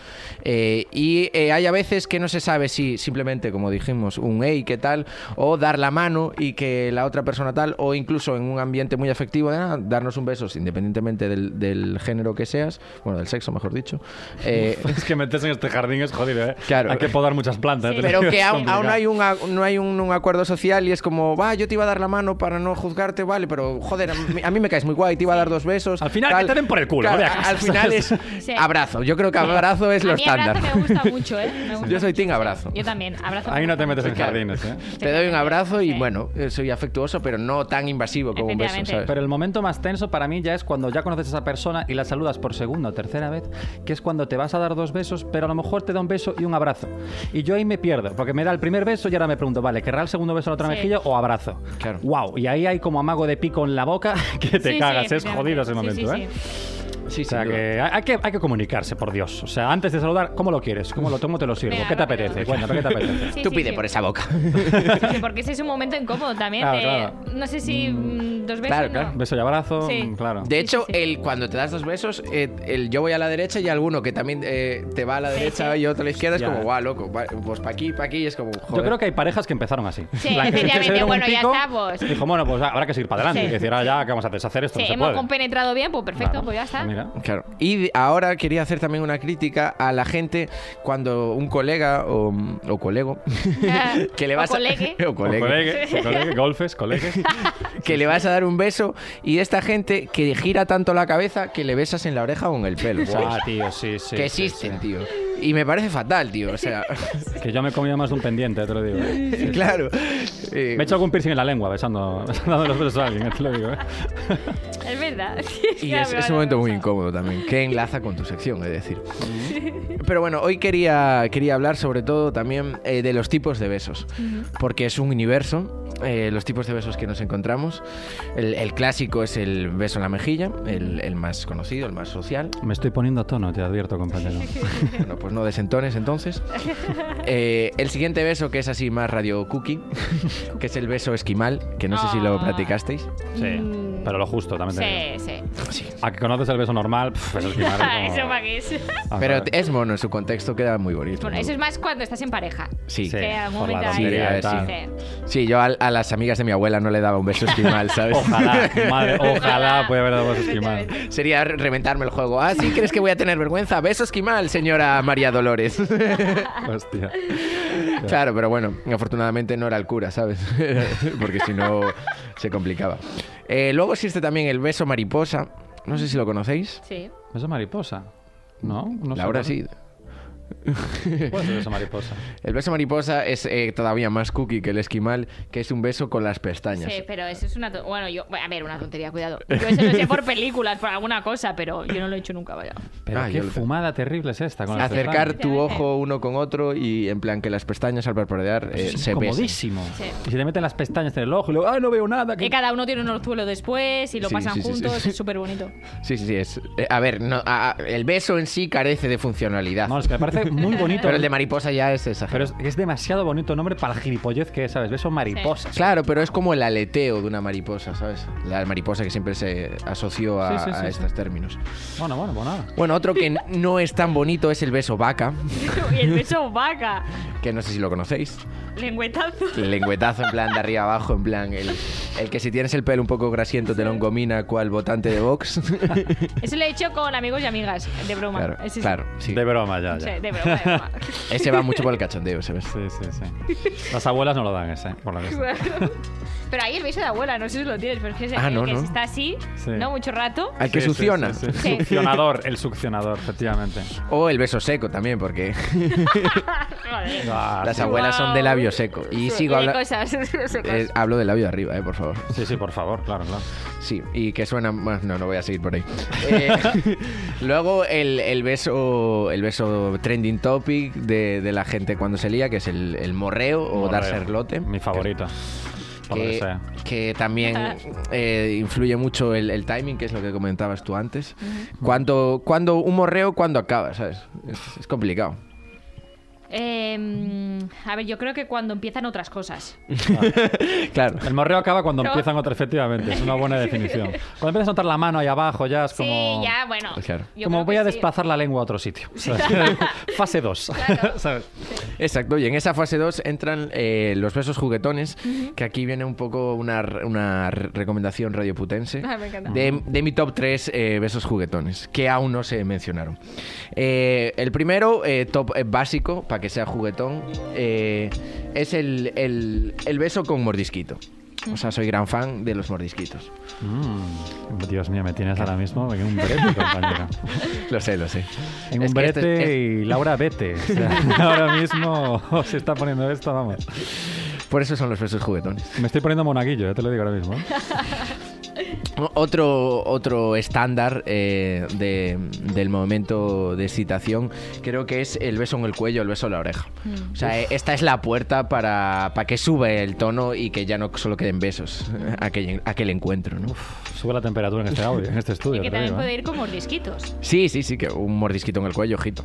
eh, y eh, hay a veces que no se sabe si simplemente, como dijimos, un hey, ¿qué tal? O dar la mano y que la otra persona tal, o incluso en un ambiente muy afectivo, de, "Ah, darnos un beso, independientemente del, del género que seas, bueno, del sexo, mejor dicho. eh,
Es que meterse en este jardín es jodido, ¿eh?
Claro.
Hay que podar muchas plantas.
Sí.
te lo
Pero
digo,
que
es
aún, aún no
complicado.
hay, un, a- no hay un, un acuerdo social y es como, va, yo te iba a dar la mano para no juzgarte, vale, pero joder, a mí, a mí me caes muy guay, te iba a dar dos besos.
Al final, que te den por el culo, vete a casa,
al final es
Sí.
abrazo. Yo creo que abrazo es
a
lo
mí abrazo
estándar.
me gusta mucho, ¿eh? Me gusta
Yo soy
mucho,
team
sí.
abrazo.
Yo también, abrazo.
Ahí
me
no te
gusta
metes en
mucho.
Claro.
jardines, ¿eh?
Te doy un abrazo y
Sí.
bueno, eh, soy afectuoso, pero no tan invasivo como un beso,
Efectivamente.
¿sabes?
Pero el momento más tenso para mí ya es cuando ya conoces a esa persona y la saludas por segunda o tercera vez, que es cuando te vas a dar dos besos, pero a lo mejor te da un beso y un abrazo. Y yo ahí me pierdo, porque me da el primer beso y ahora me pregunto, vale, ¿querrá el segundo beso en la otra
Sí.
mejilla o abrazo?
Claro.
¡Wow! Y ahí hay como amago de pico en la boca que te
Sí, sí,
cagas, es
efectivamente.
jodido ese
Sí,
momento,
sí,
¿eh?
sí.
Sí,
O sea
sin duda.
que hay hay que, hay que comunicarse, por Dios. O sea, antes de saludar, ¿cómo lo quieres? ¿Cómo lo tomo? ¿Te lo sirvo?
Venga,
¿Qué te
rápido.
apetece? Cuéntame, ¿qué te apetece?
Sí,
Tú
sí,
pide
sí.
por esa boca.
Sí, Porque ese es un momento incómodo también.
Claro,
de-
claro.
No sé si mm, dos veces.
Claro,
no.
claro. pues,
Beso y abrazo, mm,
Sí.
claro.
De hecho,
sí, sí.
El, cuando te das dos besos, eh, el yo voy a la derecha y alguno que también eh, te va a la derecha
sí.
y otro a la izquierda
Ya.
es como, guau, loco, va- pues para aquí, para aquí, y es como, joder.
Yo creo que hay parejas que empezaron así.
Sí,
En plan, que
efectivamente,
se dieron un
bueno, ya
pico,
estamos.
Dijo, bueno, pues habrá que seguir para adelante.
Sí.
Y decir, ah, ya, ¿qué vamos a hacer? ¿Deshacer esto?
Sí,
no se
hemos
puede.
compenetrado bien, pues perfecto,
Claro.
pues ya está.
Mira.
pues Claro. Y de- ahora quería hacer también una crítica a la gente cuando un colega o, o colego que le
O
vas
colegue.
a o colegue,
O Pues colegue, o colegue, golfes, colegues.
que le vas a dar un beso y esta gente que gira tanto la cabeza que le besas en la oreja o en el pelo, ¿sabes?
Ah, tío, sí, sí.
que
sí,
existen,
sí.
tío. Y me parece fatal, tío, o sea,
Que yo me he comido más de un pendiente, te lo digo. eh.
claro. Eh,
Me he hecho algún piercing en la lengua besando, dando los besos a alguien, eh, te lo digo. eh.
Es verdad. Sí,
Y
ya
es,
me
es
van
un
a
momento muy
pasar.
incómodo también, que enlaza con tu sección, es decir. Pero bueno, hoy quería, quería hablar sobre todo también eh, de los tipos de besos, porque es un universo, eh, los tipos de besos que nos encontramos. El, el clásico es el beso en la mejilla, el, el más conocido, el más social.
Me estoy poniendo a tono, te advierto, compañero.
Bueno, pues no desentones entonces. Eh, el siguiente beso, que es así más radio cookie, que es el beso esquimal, que no sé si lo
Ah.
platicasteis.
Sí, pero lo justo, también te digo.
Sí, sí.
Sí.
A que conoces el beso normal, pff, eso es quimar, es
Eso
como- Ah,
para qué es.
Vamos a
Pero
ver.
es mono, en su contexto queda muy bonito.
Bueno,
muy
eso es más cuando estás en pareja.
Sí.
Sí,
que en algún
por la
momento hay-
tontería y tal.
Sí.
Sí, yo al- a, las amigas de mi abuela no le daba un beso esquimal, ¿sabes?
Ojalá, madre, ojalá puede haber dado besos esquimal.
Sería re- reventarme el juego. Ah, ¿sí crees que voy a tener vergüenza? Beso esquimal, señora María Dolores.
Hostia.
claro, pero bueno, afortunadamente no era el cura, ¿sabes? Porque si no, se complicaba. Eh, luego existe también el beso mariposa. No sé si lo conocéis.
Sí.
¿Beso mariposa? No, no sé.
Mm, Laura sí.
¿Cuál es el beso mariposa?
El beso mariposa es eh, todavía más cookie que el esquimal, que es un beso con las pestañas.
Sí, pero eso es una... to- Bueno, yo... A ver, una tontería, cuidado. Yo eso lo sé por películas, por alguna cosa, pero yo no lo he hecho nunca, vaya.
Pero
Ah,
qué
yo lo-
fumada terrible es esta. Con las
Acercar
pestañas.
tu ojo uno con otro y en plan que las pestañas al parpadear eh,
Pues Es
se besen.
incomodísimo.
Sí.
Y se te meten las pestañas en el ojo y luego, ¡ay, no veo nada!
Que
que-".
cada uno tiene un orzuelo después y lo
Sí,
pasan
sí, sí, sí.
juntos, es súper bonito.
Sí, sí, sí. Es, eh, a ver, no, a- a- el beso en sí carece de funcionalidad.
No, es que me parece muy bonito.
pero el de mariposa ya es
Pero
exagerado.
es, es demasiado bonito el nombre para el gilipollez que es, ¿sabes? Beso mariposa.
Claro, pero es como el aleteo de una mariposa, ¿sabes? La mariposa que siempre se asoció a,
Sí, sí, sí,
a
sí.
estos términos.
Bueno, bueno, bueno. nada.
Bueno, otro que no es tan bonito es el beso vaca,
y el beso vaca.
que no sé si lo conocéis.
Lengüetazo.
El lengüetazo en plan de arriba abajo, en plan el, el que si tienes el pelo un poco grasiento te lo encomina cual votante de Vox.
Eso lo he hecho con amigos y amigas, de broma.
claro,
Sí, sí.
claro, sí.
De broma, ya,
Sí, de
ya.
broma, de broma.
Ese va mucho por el cachondeo, ¿sabes?
Sí, sí, sí. Las abuelas no lo dan ese, ¿eh? por lo que sea.
Claro. Pero ahí el beso de abuela, no sé si lo tienes, pero es que, es
Ah,
el
no,
que
no.
está así,
Sí.
no mucho rato.
Al que
Sí, sí,
succiona.
sí, sí.
Sí.
Succionador, el succionador, efectivamente.
O el beso seco también, porque
Joder.
Ah,
Las
sí.
abuelas son de
Wow.
labio seco. Y sigo
Eh,
hablando.
cosas, cosas.
hablo de labio arriba, eh, por favor.
Sí, sí, por favor, claro, claro.
Sí, y que suena más. No, no voy a seguir por ahí. Eh, luego el, el beso el beso trending topic de, de la gente cuando se lía, que es el, el morreo, o
Morreo,
dar serlote.
Mi favorita. Por lo que
Que,
sea.
que también eh, influye mucho el, el timing, que es lo que comentabas tú antes. Cuando, cuando un morreo, cuando acaba, ¿sabes? Es, es complicado.
Eh, mm, a ver, yo creo que cuando empiezan otras cosas.
Claro.
El morreo acaba cuando
No.
empiezan otras, efectivamente. Es una buena definición. Cuando empiezas a notar la mano ahí abajo, ya es como.
Sí, ya, bueno.
pues Claro.
yo
Como
creo
voy
que
a
sí.
desplazar la lengua a otro sitio. Fase 2. ¿Sabes?
Exacto, y en esa fase 2 entran eh, los besos juguetones, que aquí viene un poco una, r- una r- recomendación radioputense
Ah, me encanta.
de, de mi top 3 besos juguetones, que aún no se mencionaron. Eh, el primero, eh, top eh, básico, para que sea juguetón, eh, es el, el- el beso con mordisquito. O sea, soy gran fan de los mordisquitos.
Mm, Dios mío, me tienes ahora mismo en un brete, compañero.
Lo sé, lo sé.
En
Es
un
que
brete
este- es-
y Laura, vete. O sea, ahora mismo se está poniendo esto, vamos.
por eso son los besos juguetones.
Me estoy poniendo monaguillo, ya te lo digo ahora mismo. ¿eh?
Otro, otro estándar eh, de- del momento de excitación creo que es el beso en el cuello, el beso en la oreja.
Mm.
O sea, eh, esta es la puerta para, para que sube el tono y que ya no solo queden besos eh, aquel, aquel encuentro, ¿no?
Sube la temperatura en este audio, en este
Y
estudio.
que
te
también
digo,
puede
¿eh?
ir con mordisquitos.
Sí, sí, sí, que un mordisquito en el cuello, ojito.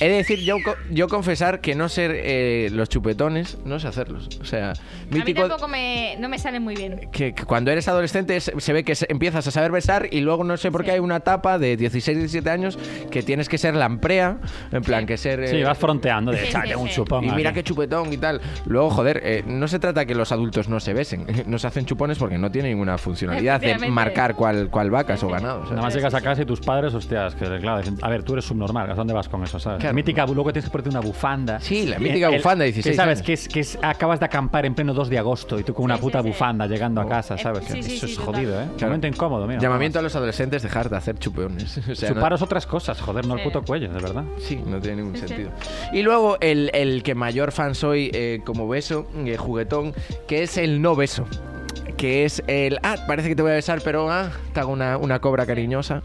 He de decir, yo, co- yo confesar que no ser eh, los chupetones, no sé hacerlos. O sea,
A mí
mítico...
tampoco me, no me salen muy bien.
que, que cuando eres adolescente se, se ve que se- empiezas a saber besar y luego no sé por qué hay una etapa de 16, 17 años que tienes que ser lamprea, en plan que ser... eh,
Sí, vas fronteando de
Sí,
echarle
sí,
un
sí.
chupón.
y mira
aquí".
qué chupetón y tal. Luego, joder, eh, no se trata que los adultos no se besen, no se hacen chupones porque no tiene ninguna funcionalidad de
Efectivamente.
marcar cuál, cuál vacas o ganados.
Nada más llegas a casa y tus padres, hostias, que claro, dicen, a ver, tú eres subnormal, ¿a dónde vas con eso? ¿sabes?
Claro.
Mítica, bu- luego tienes que ponerte una bufanda. Eh,
Sí, la mítica
El-
bufanda de
que
16
¿Sabes?
años.
Que, es, que es- acabas de acampar en pleno 2 de agosto y tú con una
Sí,
puta
sí, sí.
bufanda llegando a casa, ¿sabes?
Sí, sí,
eso
sí,
es
total.
jodido, ¿eh?
Oh. Claro.
Momento incómodo, mira.
Llamamiento a los adolescentes, dejar de hacer chupones. O sea, no-
Chuparos otras cosas, joder, no el
Sí.
puto cuello, de verdad.
Sí, no tiene ningún
Sí, sí.
sentido. Y luego el, el que mayor fan soy eh, como beso, eh, juguetón, que es el no beso. Que es el, ah, parece que te voy a besar, pero ah, te hago una, una cobra cariñosa.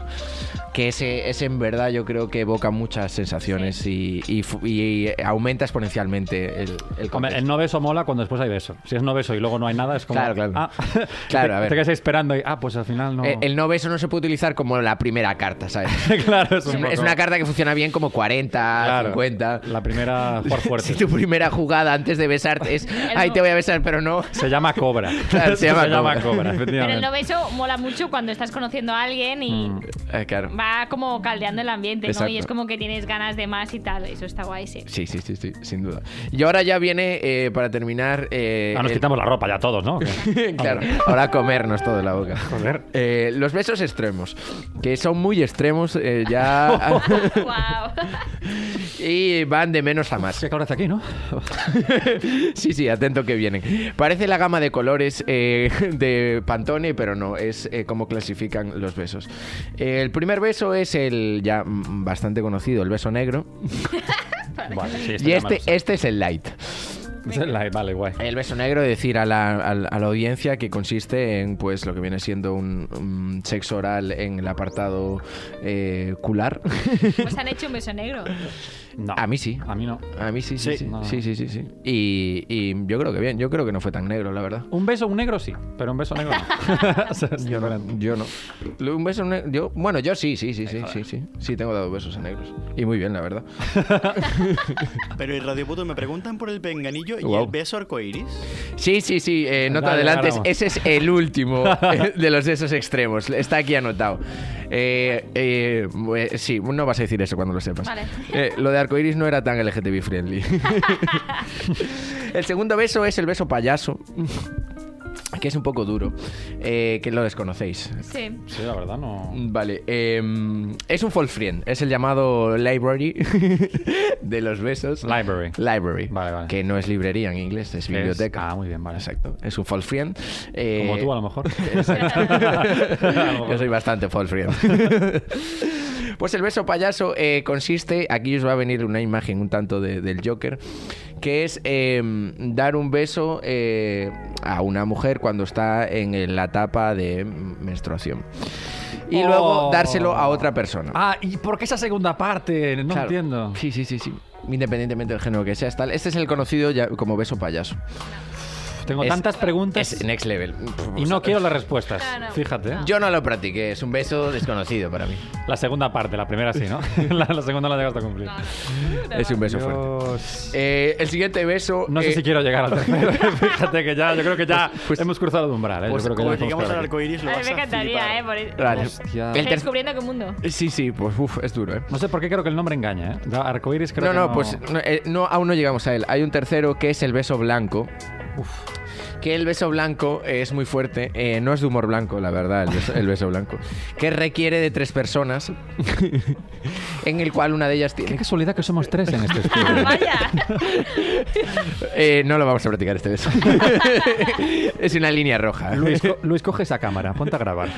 Que ese, ese en verdad yo creo que evoca muchas sensaciones y, y fu- y aumenta exponencialmente el, el
Hombre,
contexto.
el no beso mola cuando después hay beso. Si es no beso y luego no hay nada, es como.
Claro, claro.
Ah,
Claro,
te,
a ver.
te quedas ahí esperando y. Ah, pues al final no.
Eh, el no beso no se puede utilizar como la primera carta, ¿sabes?
claro, es, un
Es
poco-
una carta que funciona bien como 40,
Claro,
50.
La primera por fuerte.
Si tu primera jugada antes de besarte es, ay, te voy a besar, pero no.
Se llama cobra.
Claro, se llama cobra.
efectivamente.
Pero el no beso mola mucho cuando estás conociendo a alguien y
Eh, claro.
va como caldeando el ambiente, ¿no? Y
Exacto.
es como que tienes ganas de más y tal. Eso está guay, sí.
Sí, sí, sí, sí, sin duda. Y ahora ya viene, eh, para terminar... eh,
Ah, nos
el-
quitamos la ropa ya todos, ¿no?
claro, ahora a comernos todo la boca.
Joder.
Eh, los besos extremos, que son muy extremos eh, ya...
wow.
y van de menos a más.
¿Qué calor hace aquí, no?
Sí, sí, atento que vienen. Parece la gama de colores eh, de Pantone, pero no, es eh, como clasifican los besos. Eh, el primer beso es el ya mm, bastante conocido, el beso negro.
Vale, sí,
Y
ya
este,
me lo sé.
este es el light.
Es el light, Vale, guay.
El beso negro, decir a la, a la- a la audiencia que consiste en pues lo que viene siendo un, un sexo oral en el apartado eh, cular.
Pues han hecho un beso negro.
No.
a mí sí.
A mí no.
A mí sí, sí, sí.
Sí.
No, no.
Sí, sí, sí, sí. Y, y yo creo que bien, yo creo que no fue tan negro, la verdad.
Un beso, un negro sí, pero un beso negro no. O sea, es diferente.
Yo no. Lo- Un beso negro. Yo, bueno, yo sí, sí, sí, sí, sí, sí. Sí, tengo dado besos a negros. Y muy bien, la verdad.
Pero en Radio Puto me preguntan por el penganillo y
Guau.
el beso arcoiris.
Sí, sí, sí, eh, no te
Dale,
adelantes.
ganamos.
Ese es el último eh, de los de esos extremos. Está aquí anotado. Eh, eh, eh, sí, no vas a decir eso cuando lo sepas.
Vale.
Eh, lo de arcoiris no era tan LGTB friendly. el segundo beso es el beso payaso. Que es un poco duro. eh, que lo desconocéis.
Sí.
Sí, la verdad no.
Vale, em, es un false friend, es el llamado library de los besos.
Library.
Library.
Vale, vale.
Que no es librería en inglés, es biblioteca.
Ah, muy bien, vale.
Exacto. Es un false friend. eh,
Como tú, a lo mejor.
Exacto.
A lo mejor.
Yo soy bastante false friend. Pues el beso payaso eh, consiste, aquí os va a venir una imagen un tanto de- del Joker, que es eh, dar un beso eh, a una mujer cuando está en la etapa de menstruación. Y luego
Oh.
dárselo a otra persona.
Ah, ¿y por qué esa segunda parte? No
Claro.
entiendo.
Sí, sí, sí, sí. Independientemente del género que seas, tal. Este es el conocido ya como beso payaso.
Tengo
Es-
tantas preguntas
Es next level.
y no quiero las respuestas.
Claro.
Fíjate. ¿eh?
Yo no lo practiqué, es un beso desconocido para mí.
La segunda parte, la primera sí, ¿no? la, la segunda la llegaste a cumplir.
Es un beso fuerte.
Dios.
Eh, el siguiente beso.
No sé
eh,
si quiero llegar al tercero. Fíjate que ya, yo creo que ya
pues-
hemos cruzado el umbral. ¿eh? Yo
pues
creo que
Cuando
ya podemos
lleguemos al
parar aquí.
arco iris lo
A mí
vas
me
a
encantaría,
flipar.
¿eh? Por el...
Vale.
Hostia.
El
Estoy
ter-
descubriendo qué mundo.
Sí, sí, pues uf, es duro, ¿eh?
No sé por qué creo que el nombre engaña, ¿eh? Da- Arcoiris creo
No,
que
no, pues no, eh, no, aún no llegamos a él. Hay un tercero que es el beso blanco. Que el beso blanco es muy fuerte. eh, no es de humor blanco, la verdad, el beso, el beso blanco. Que requiere de tres personas. en el cual una de ellas
Qué
tiene.
casualidad que somos tres en este
Ah,
estudio.
vaya.
Eh, no lo vamos a practicar este beso. es una línea roja.
Luis, co- Luis, coge esa cámara, ponte a grabar.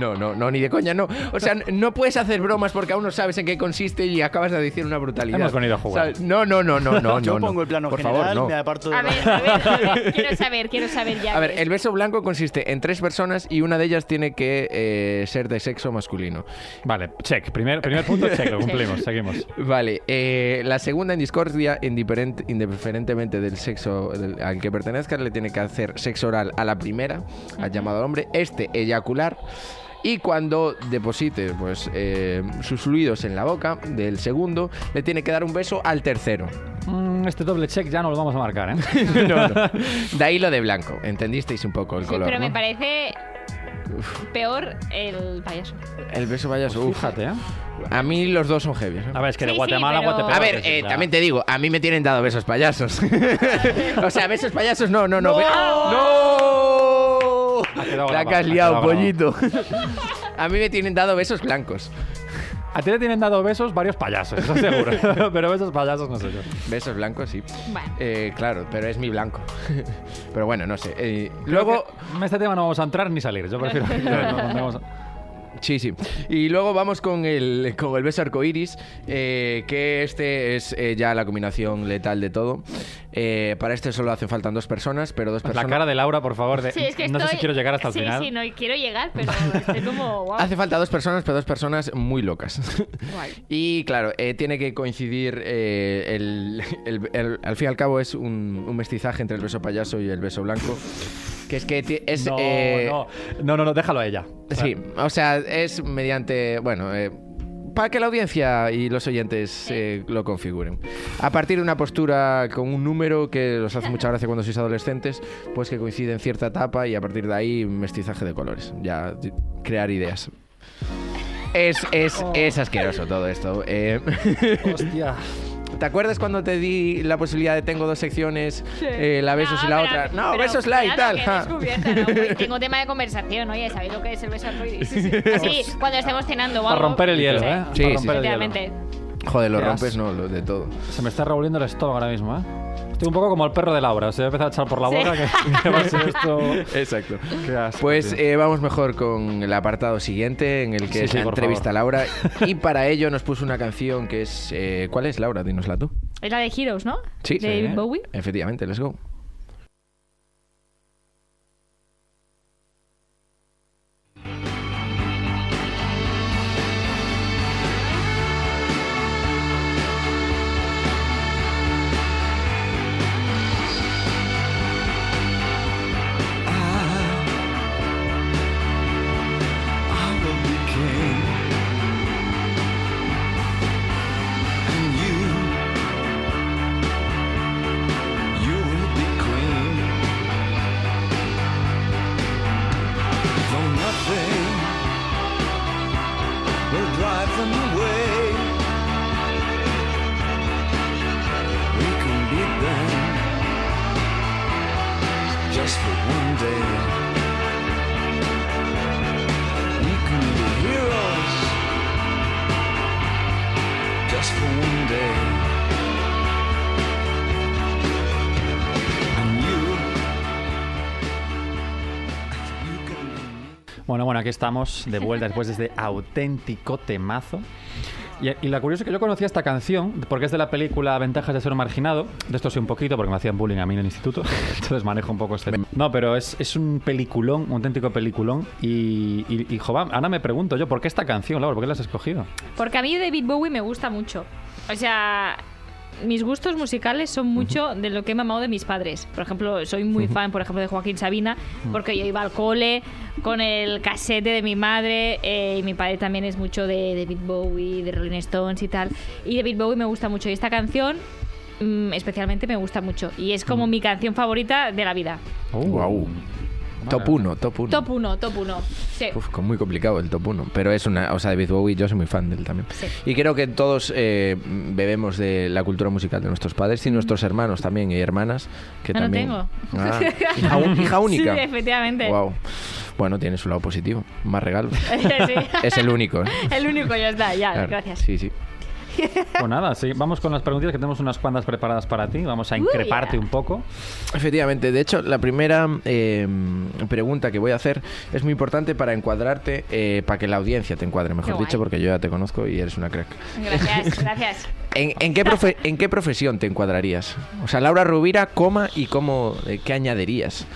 No, no, no, ni de coña, no. O sea, no puedes hacer bromas porque aún no sabes en qué consiste y acabas de decir una brutalidad.
Hemos venido a jugar.
¿Sabes? No, no, no, no, no.
Yo
no, no.
pongo el plano
Por
general,
favor, no.
me aparto de
A ver, a ver. Quiero saber, quiero saber ya.
A ver,
qué es.
el beso blanco consiste en tres personas y una de ellas tiene que eh, ser de sexo masculino.
Vale, check. Primer, primer punto, check. Lo cumplimos, seguimos.
Vale, eh, la segunda en discordia, indiferent- indiferentemente del sexo del- al que pertenezca, le tiene que hacer sexo oral a la primera, al llamado hombre, este eyacular. Y cuando deposite pues, eh, sus fluidos en la boca del segundo, le tiene que dar un beso al tercero.
Mm, este doble check ya no lo vamos a marcar, ¿eh?
No, no. De ahí lo de blanco. Entendisteis un poco el
Sí,
color.
pero me
¿no?
parece peor el payaso.
El beso payaso. uf.
Fíjate, ¿eh?
A mí los dos son heavy. ¿eh?
A ver, es que de
Sí, sí,
Guatemala
pero-
a Guatepeor
A ver,
es,
eh,
ya.
también te digo, a mí me tienen dado besos payasos. o sea, besos payasos, no, no, no. be- ¡No! La
Ha quedado
que
grabado,
has
ha
liado,
quedado
pollito. a mí me tienen dado besos blancos.
A ti te tienen dado besos varios payasos, eso seguro. pero besos payasos no sé yo.
Besos blancos, sí.
Bueno.
Eh, claro, pero es mi blanco. pero bueno, no sé. Eh, luego,
En este tema no vamos a entrar ni salir, yo prefiero... que no- no- no vamos a-
sí, sí. Y luego vamos con el, con el beso arcoiris, eh, que este es eh, ya la combinación letal de todo. Eh, para este solo hacen falta dos personas, pero dos
Pues La
personas.
cara de Laura, por favor, de-
Sí, es que
Eh, no sé
estoy-
si quiero llegar hasta el
sí,
final.
Sí, no quiero llegar, pero estoy como. guau.
Hace falta dos personas, pero dos personas muy locas.
Guay.
Y claro, eh, tiene que coincidir, eh, el, el- el- al fin y al cabo es un, un mestizaje entre el beso payaso y el beso blanco. Que es que ti- es...
No,
eh,
no, no, no, no, déjalo a ella.
Sí, o sea, es mediante, bueno, eh, para que la audiencia y los oyentes eh, lo configuren. A partir de una postura con un número que los hace mucha gracia cuando sois adolescentes, pues que coincide en cierta etapa y a partir de ahí mestizaje de colores, ya di- crear ideas. Es, es, es asqueroso todo esto. eh.
Hostia.
¿Te acuerdas cuando te di la posibilidad de tengo dos secciones, eh, la besos
No,
y la
pero-
otra? No,
Ah, pero
besos la y
claro
tal.
que he
ja.
descubierto, ¿no? Uy, Tengo tema de conversación, oye, ¿sabéis lo que es el beso arcoíris? Sí, cuando estemos cenando o
Para
algo.
romper el hielo,
Sí,
¿eh?
Sí,
Para
sí.
romper el hielo.
Literalmente.
Joder, lo
Qué
rompes,
asco.
no, lo de todo.
Se me está revolviendo el estómago ahora mismo, ¿eh? Estoy un poco como el perro de Laura, se va a empezar a echar por la
Sí.
boca que, que va a ser esto...
Exacto.
Qué asco,
Pues
tío.
eh, vamos mejor con el apartado siguiente en el
Sí,
que
sí,
se
por
entrevista a
favor.
Laura y para ello nos puso una canción que es... eh, ¿Cuál es, Laura? Dínosla tú.
Es la de Heroes, ¿no?
Sí.
De David Bowie.
Efectivamente, let's go.
I will be king, and you, you will be
Bueno, bueno, aquí estamos de vuelta después de este auténtico temazo. Y, y lo curioso es que yo conocía esta canción porque es de la película Ventajas de ser un marginado. De esto sé un poquito porque me hacían bullying a mí en el instituto. Entonces manejo un poco este. No, pero es, es un peliculón, un auténtico peliculón. Y, y, y, jo, va, ahora me pregunto yo, ¿por qué esta canción, Laura? ¿Por qué la has escogido?
Porque a mí David Bowie me gusta mucho. O sea, mis gustos musicales son mucho de lo que he mamado de mis padres. Por ejemplo, soy muy fan, por ejemplo, de Joaquín Sabina, porque yo iba al cole con el casete de mi madre eh, y mi padre también es mucho de David Bowie, de Rolling Stones y tal. Y David Bowie me gusta mucho y esta canción mm, especialmente me gusta mucho y es como mi canción favorita de la vida.
Uh,
Guau. Top 1, top 1.
Top 1, top 1. Sí.
Uf, con muy complicado el top 1. Pero es una. O sea, David Bowie, yo soy muy fan de él también.
Sí.
Y creo que todos eh, bebemos de la cultura musical de nuestros padres y nuestros hermanos también y hermanas. Que
Mm. No, no
también.
tengo.
Ah, hija, un- hija única.
Sí, efectivamente.
Wow. Bueno, tiene su lado positivo. Más regalos.
Sí.
es el único. ¿eh?
El único, ya está, ya,
Claro.
gracias.
Sí, sí.
Pues nada, sí, vamos con las preguntitas que tenemos unas cuantas preparadas para ti. Vamos a
Uy,
increparte
ya.
un poco.
Efectivamente, de hecho, la primera eh, pregunta que voy a hacer es muy importante para encuadrarte, eh, para que la audiencia te encuadre, mejor
Qué
dicho,
guay.
porque yo ya te conozco y eres una crack.
Gracias, gracias.
¿En, en qué, profe- en qué profesión te encuadrarías? O sea, Laura Rubira, coma y cómo, eh, qué añadirías.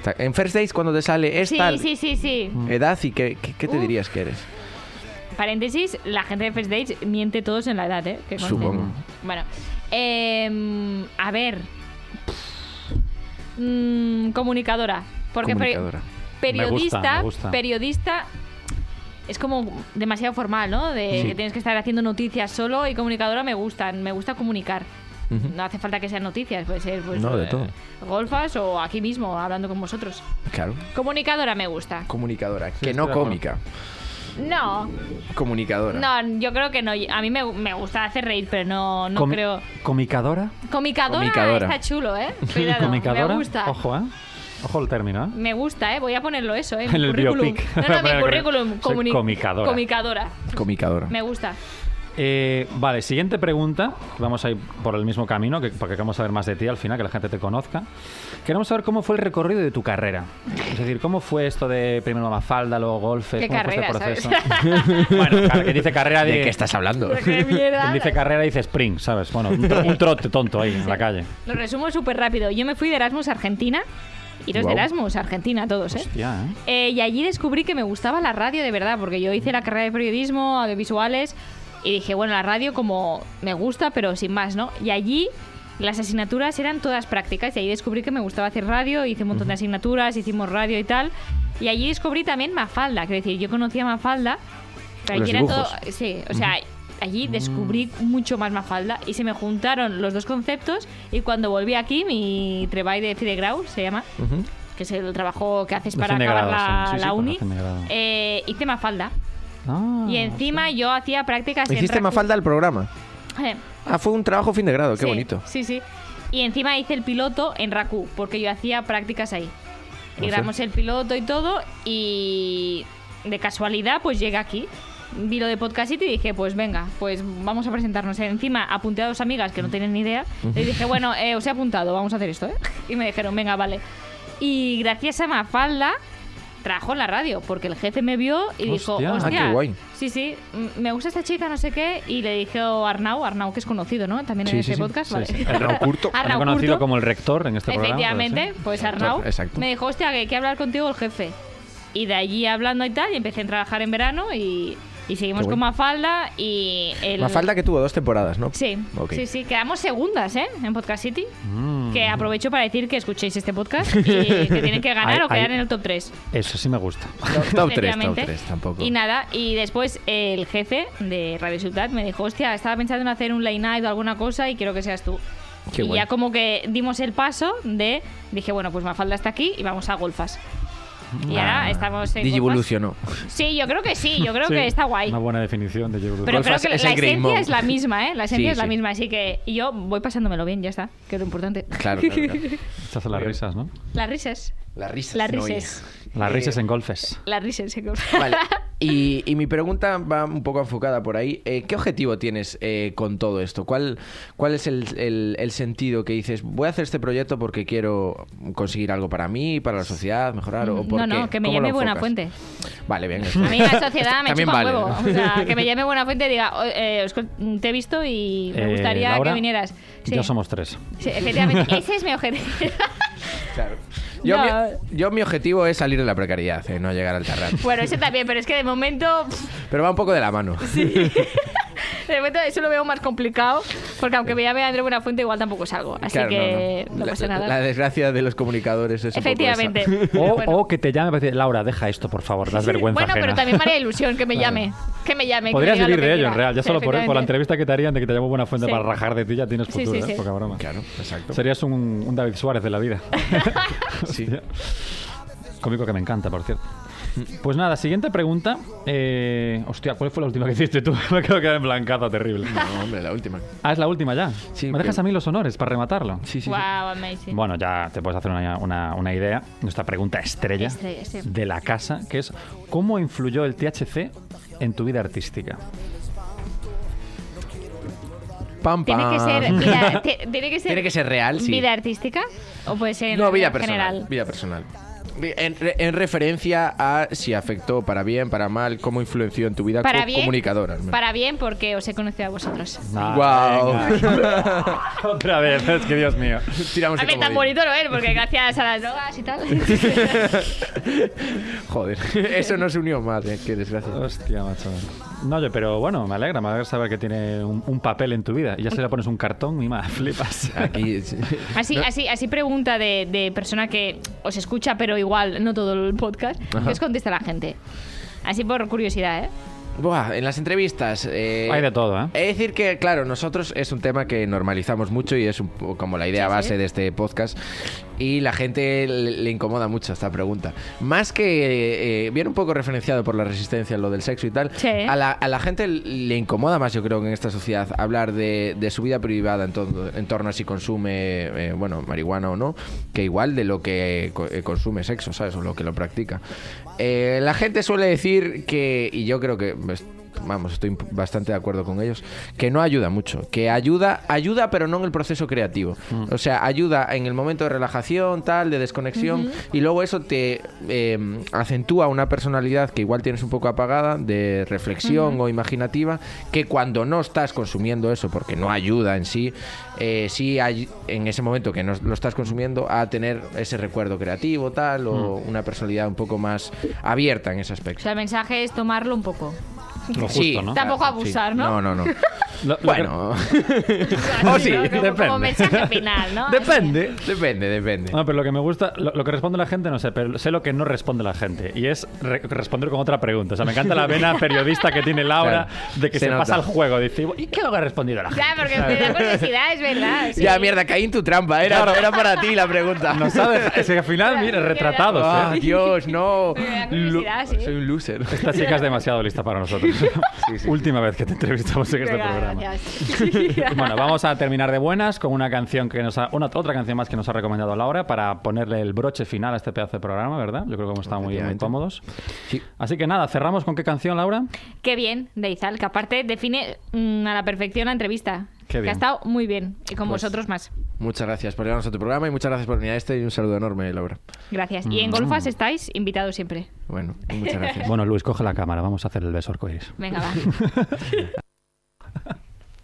O sea, En First Days, cuando te sale
Sí,
esta
sí, sí, sí.
edad y qué, qué- qué te
Uf.
dirías que eres.
Paréntesis, la gente de First Dates miente todos en la edad, ¿eh? Que conste.
Supongo.
Bueno, em, a ver. Mm, comunicadora. Porque peri-
Comunicadora.
Me gusta,
periodista,
me gusta.
periodista es como demasiado formal, ¿no? De
Sí.
que tienes que estar haciendo noticias solo y comunicadora me gustan, me gusta comunicar.
Ujú.
No hace falta que sean noticias, puede ser pues,
No, de
eh,
todo.
golfas o aquí mismo hablando con vosotros.
Claro,
Comunicadora me gusta.
comunicadora, que
estoy
no
de acuerdo.
cómica,
No,
comunicadora.
No, yo creo que no. A mí me, me gusta hacer reír, pero no, no
Comi-
creo.
¿Comicadora?
Comicadora,
Comicadora.
está chulo, ¿eh? Cuidado,
¿Comicadora?
me gusta.
Ojo, ¿eh? Ojo el término, ¿eh?
Me gusta, ¿eh? Voy a ponerlo eso, ¿eh?
En el
currículum.
biopic.
No, no, mi
Soy
currículum. comuni-
comicadora.
Comicadora.
Comicadora.
Me gusta.
Eh, vale, siguiente pregunta. Vamos a ir por el mismo camino, que, porque queremos saber más de ti al final, que la gente te conozca. Queremos saber cómo fue el recorrido de tu carrera. Es decir, cómo fue esto de primero Mafalda, luego golfes,
¿Qué
cómo fue
carrera,
este
sabes?
proceso. bueno, claro, que dice carrera
¿De
dice-
qué estás hablando?
¡Qué mierda!
Quien dice carrera dice spring, ¿sabes? Bueno, un, tro- un trote tonto ahí en la calle.
Lo resumo súper rápido. Yo me fui de Erasmus a Argentina. Iros
Guau.
de Erasmus a Argentina todos, ¿eh?
Hostia,
Eh,
¿eh?
y allí descubrí que me gustaba la radio de verdad, porque yo hice la carrera de periodismo, audiovisuales, y dije, bueno, la radio como me gusta, pero sin más, ¿no? Y allí las asignaturas eran todas prácticas, y ahí descubrí que me gustaba hacer radio, hice un montón de asignaturas, hicimos radio y tal. Y allí descubrí también Mafalda, quiero decir, yo conocía Mafalda, pero
Los
allí era
dibujos. Mm.
todo. Sí, o sea, allí descubrí mucho más Mafalda y se me juntaron los dos conceptos. Y cuando volví aquí, mi treball de Fidegrau se llama,
Ujú.
que es el trabajo que haces
De
para
fin de
acabar
grado,
la,
sí, sí,
la
para
uni,
fin de grado.
eh, hice Mafalda.
Ah,
y encima yo hacía prácticas en
Hiciste
Racu-
más falta al programa.
Eh,
Ah, fue un trabajo fin de grado, qué
sí,
bonito.
Sí, sí. Y encima hice el piloto en Raku, porque yo hacía prácticas ahí. Y
Ojo.
grabamos el piloto y todo, y de casualidad, pues llegué aquí. Vi lo de podcast City y dije, pues venga, pues vamos a presentarnos. Encima apunté a dos amigas
Mm.
que no tenían ni idea. Les dije, bueno, eh, os he apuntado, vamos a hacer esto, ¿eh? Y me dijeron, venga, vale. Y gracias a Mafalda trajo en la radio, porque el jefe me vio y dijo,
Hostia. Ah,
hostia,
qué guay.
sí, sí, mm, me gusta esta chica, no sé qué. Y le dije a Arnau, Arnau que es conocido, ¿no? También
Sí,
en
sí,
este
sí.
podcast,
Sí,
vale.
sí.
Arnau Curto.
Arnau
conocido
Curto.
como el rector en este programa.
Efectivamente,
puede ser.
pues Arnau
Exacto.
me dijo, hostia, que hay que hablar contigo el jefe. Y de allí hablando y tal, y empecé a trabajar en verano y, y seguimos
Qué
con
bueno.
Mafalda y el...
Mafalda que tuvo dos temporadas, ¿no?
Sí,
Ok.
sí, sí, quedamos segundas, ¿eh? En Podcast City.
Mm.
Que aprovecho para decir que escuchéis este podcast y que tienen que ganar
Ahí-
o quedar
ahí-
en el top 3.
Eso sí me gusta.
Top 3, top
Efectivamente.
3, tampoco.
Y nada, y después el jefe de Radio Ciudad me dijo, hostia, estaba pensando en hacer un late night o alguna cosa y quiero que seas tú.
Qué
y
guay.
ya como que dimos el paso de, dije, bueno, pues Mafalda está aquí y vamos a golfas. Y
Ah,
ahora estamos en golfas.
Digivolucionó.
Sí, yo creo que sí, yo creo
Sí,
que está guay.
Una buena definición de Diego Cruz.
Pero creo
Golfas
que la
es el Grey
esencia
Monk.
es la misma, ¿eh? La esencia
Sí,
es la
sí.
misma, así que y yo voy pasándomelo bien, ya está, que es lo importante.
Claro, claro, claro.
Estas son las risas, ¿no?
Las risas.
Las risas.
Las
no,
risas.
oye.
Las
Eh,
risas en golfes.
Las risas, sí.
Vale. Y, y mi pregunta va un poco enfocada por ahí. Eh, ¿Qué objetivo tienes eh, con todo esto? ¿Cuál, cuál es el, el- el sentido que dices, voy a hacer este proyecto porque quiero conseguir algo para mí, para la sociedad, mejorar? O por
Mm, No, no,
qué?
que me
¿Cómo lo
llame
enfocas?
Buenafuente.
Vale, bien.
Mm.
A mí la sociedad me
También
chupa un
vale,
huevo.
¿no?
O sea, que me llame buena fuente y diga, "O- eh, Oscar, te he visto y me
Eh,
gustaría
Laura,
que vinieras. Sí,
Ya somos tres.
sí, efectivamente. Ese es mi objetivo.
Claro. Yo,
No.
mi, yo mi objetivo es salir de la precariedad, eh, no llegar al terrat.
bueno, ese también, pero es que de momento, pff,
Pero va un poco de la mano.
de momento eso lo veo más complicado, porque aunque me llame André Buenafuente igual tampoco salgo. Así
Claro, no,
que no,
no. La-
pasa
la,
nada.
la desgracia de los comunicadores es un poco esa.
Efectivamente.
O,
Pero bueno.
o que te llame para decir, Laura, deja esto, por favor, das vergüenza.
Bueno, pero
ajena".
también me haría ilusión que me llame. Que me llame. que me
Podrías
diga lo
vivir
que
de ello,
quiera.
en real. Ya
Sí,
solo por, por la
efectivamente.
entrevista que te harían de que te llamo buena fuente
Sí.
para rajar de ti, ya tienes
Sí, sí,
futuro,
sí.
¿eh? Poca broma.
Claro, exacto.
Serías un, un David Suárez de la vida.
Sí.
Cómico que me encanta, por cierto. Pues nada, siguiente pregunta. Eh, hostia, ¿cuál fue la última que hiciste tú? me quedo quedado en blancazo terrible.
No, hombre, la última.
Ah, es la última ya.
Sí,
¿Me dejas
pero-
a mí los honores para rematarlo?
Sí, sí. sí.
Wow, amazing.
Bueno, ya te puedes hacer una, una- una idea. Nuestra pregunta estrella,
Estrella, sí.
de la casa, que es ¿cómo influyó el THC en tu vida artística?
Pam,
Tiene que
pam.
ser. Vida, te- tiene que ser.
Tiene que ser real, sí.
¿Vida artística? ¿O puede ser en
no, vida personal.
general?
Vida personal. Vi- En, re- en referencia a si afectó para bien, para mal, cómo influenció en tu vida
Para
co-
bien.
comunicadora. ¿no?
Para bien, porque os he conocido a vosotros.
Guau.
Ah, Otra vez, es que Dios mío.
Tiramos
A
de
ver, tan
comodín.
bonito no es, porque gracias a las drogas y tal.
Joder, eso nos unió más, eh, qué desgracia.
Hostia, macho. No, oye, pero bueno, me alegra, me alegra saber que tiene un, un papel en tu vida. Y ya se le pones un cartón y más, flipas.
Aquí es-
Así,
No,
así, así pregunta de, de persona que os escucha, pero igual no todo el podcast.
Ajá.
¿Qué os contesta la gente? Así por curiosidad, ¿eh?
Buah, en las entrevistas. eh,
Hay de todo, ¿eh?
He de decir que, claro, nosotros es un tema que normalizamos mucho y es un poco como la idea
Sí, sí.
base de este podcast. Y la gente le, le incomoda mucho esta pregunta. Más que eh, viene un poco referenciado por la resistencia, lo del sexo y tal.
Sí.
A, la, a la gente le incomoda más, yo creo, en esta sociedad hablar de, de su vida privada en, todo- en torno a si consume, eh, bueno, marihuana o no, que igual de lo que co- eh, consume sexo, ¿sabes? O lo que lo practica. Eh, la gente suele decir que, y yo creo que pues, vamos, estoy bastante de acuerdo con ellos, que no ayuda mucho, que ayuda, ayuda pero no en el proceso creativo. O sea, ayuda en el momento de relajación, tal, de desconexión, y luego eso te eh, acentúa una personalidad que igual tienes un poco apagada, de reflexión o imaginativa, que cuando no estás consumiendo eso, porque no ayuda en sí, eh, sí hay, en ese momento que no lo estás consumiendo, a tener ese recuerdo creativo, tal, o una personalidad un poco más abierta en ese
O
aspecto.
sea, el mensaje es tomarlo un poco.
Lo justo,
Sí.
¿no?
Tampoco abusar, ¿no?
No, no, no.
Lo- lo que-
Bueno. o Oh, sí,
Como- como,
depende.
mensaje final, ¿no?
Depende, depende, depende.
No, pero lo que me gusta, lo, lo que responde la gente, no sé, pero sé lo que no responde la gente. Y es re- responder con otra pregunta. O sea, me encanta la vena periodista que tiene Laura
Claro.
de que
Se
se,
nota.
pasa al juego. Dice, ¿y qué es lo que ha respondido la gente?
Ya, porque me da curiosidad, es verdad. sí.
Ya, mierda, caí en tu trampa. Era, era para ti la pregunta.
No sabes, es que al final, mira, retratados, ¿eh?
Ah, Dios, no.
Me da curiosidad, sí.
Soy un loser.
Esta chica es demasiado lista para nosotros. Última vez que te entrevistamos en este
Venga,
programa.
gracias.
Bueno, vamos a terminar de buenas con una canción que nos ha, una, otra canción más que nos ha recomendado Laura para ponerle el broche final a este pedazo de programa, ¿verdad? Yo creo que hemos estado muy, muy
Efectivamente.
cómodos.
Sí.
Así que nada, cerramos con qué canción, Laura.
Qué bien, de Izal, que aparte define mm, a la perfección la entrevista.
Qué
Que
bien. Pues
ha estado muy bien. Y con vosotros más.
Muchas gracias por llevarnos a tu programa y muchas gracias por venir a este y un saludo enorme, Laura.
Gracias. Y en
Mm.
Golfas estáis invitados siempre.
Bueno, muchas gracias.
Bueno, Luis, coge la cámara, vamos a hacer el beso arcoíris.
Venga, va.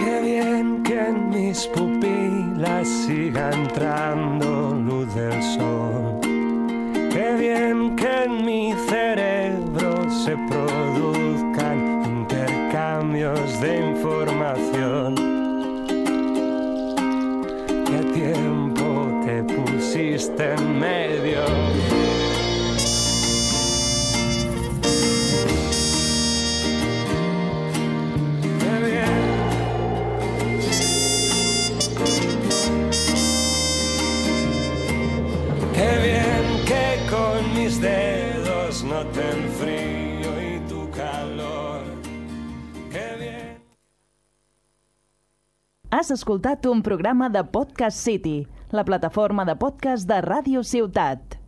Qué bien que en mis pupilas siga entrando luz del sol. Qué bien que en mi cerebro se produzcan intercambios de información. Qué tiempo te pusiste en medio. Qué bien. Qué bien que con
Has escoltat un programa de Podcast City, la plataforma de podcast de Ràdio Ciutat.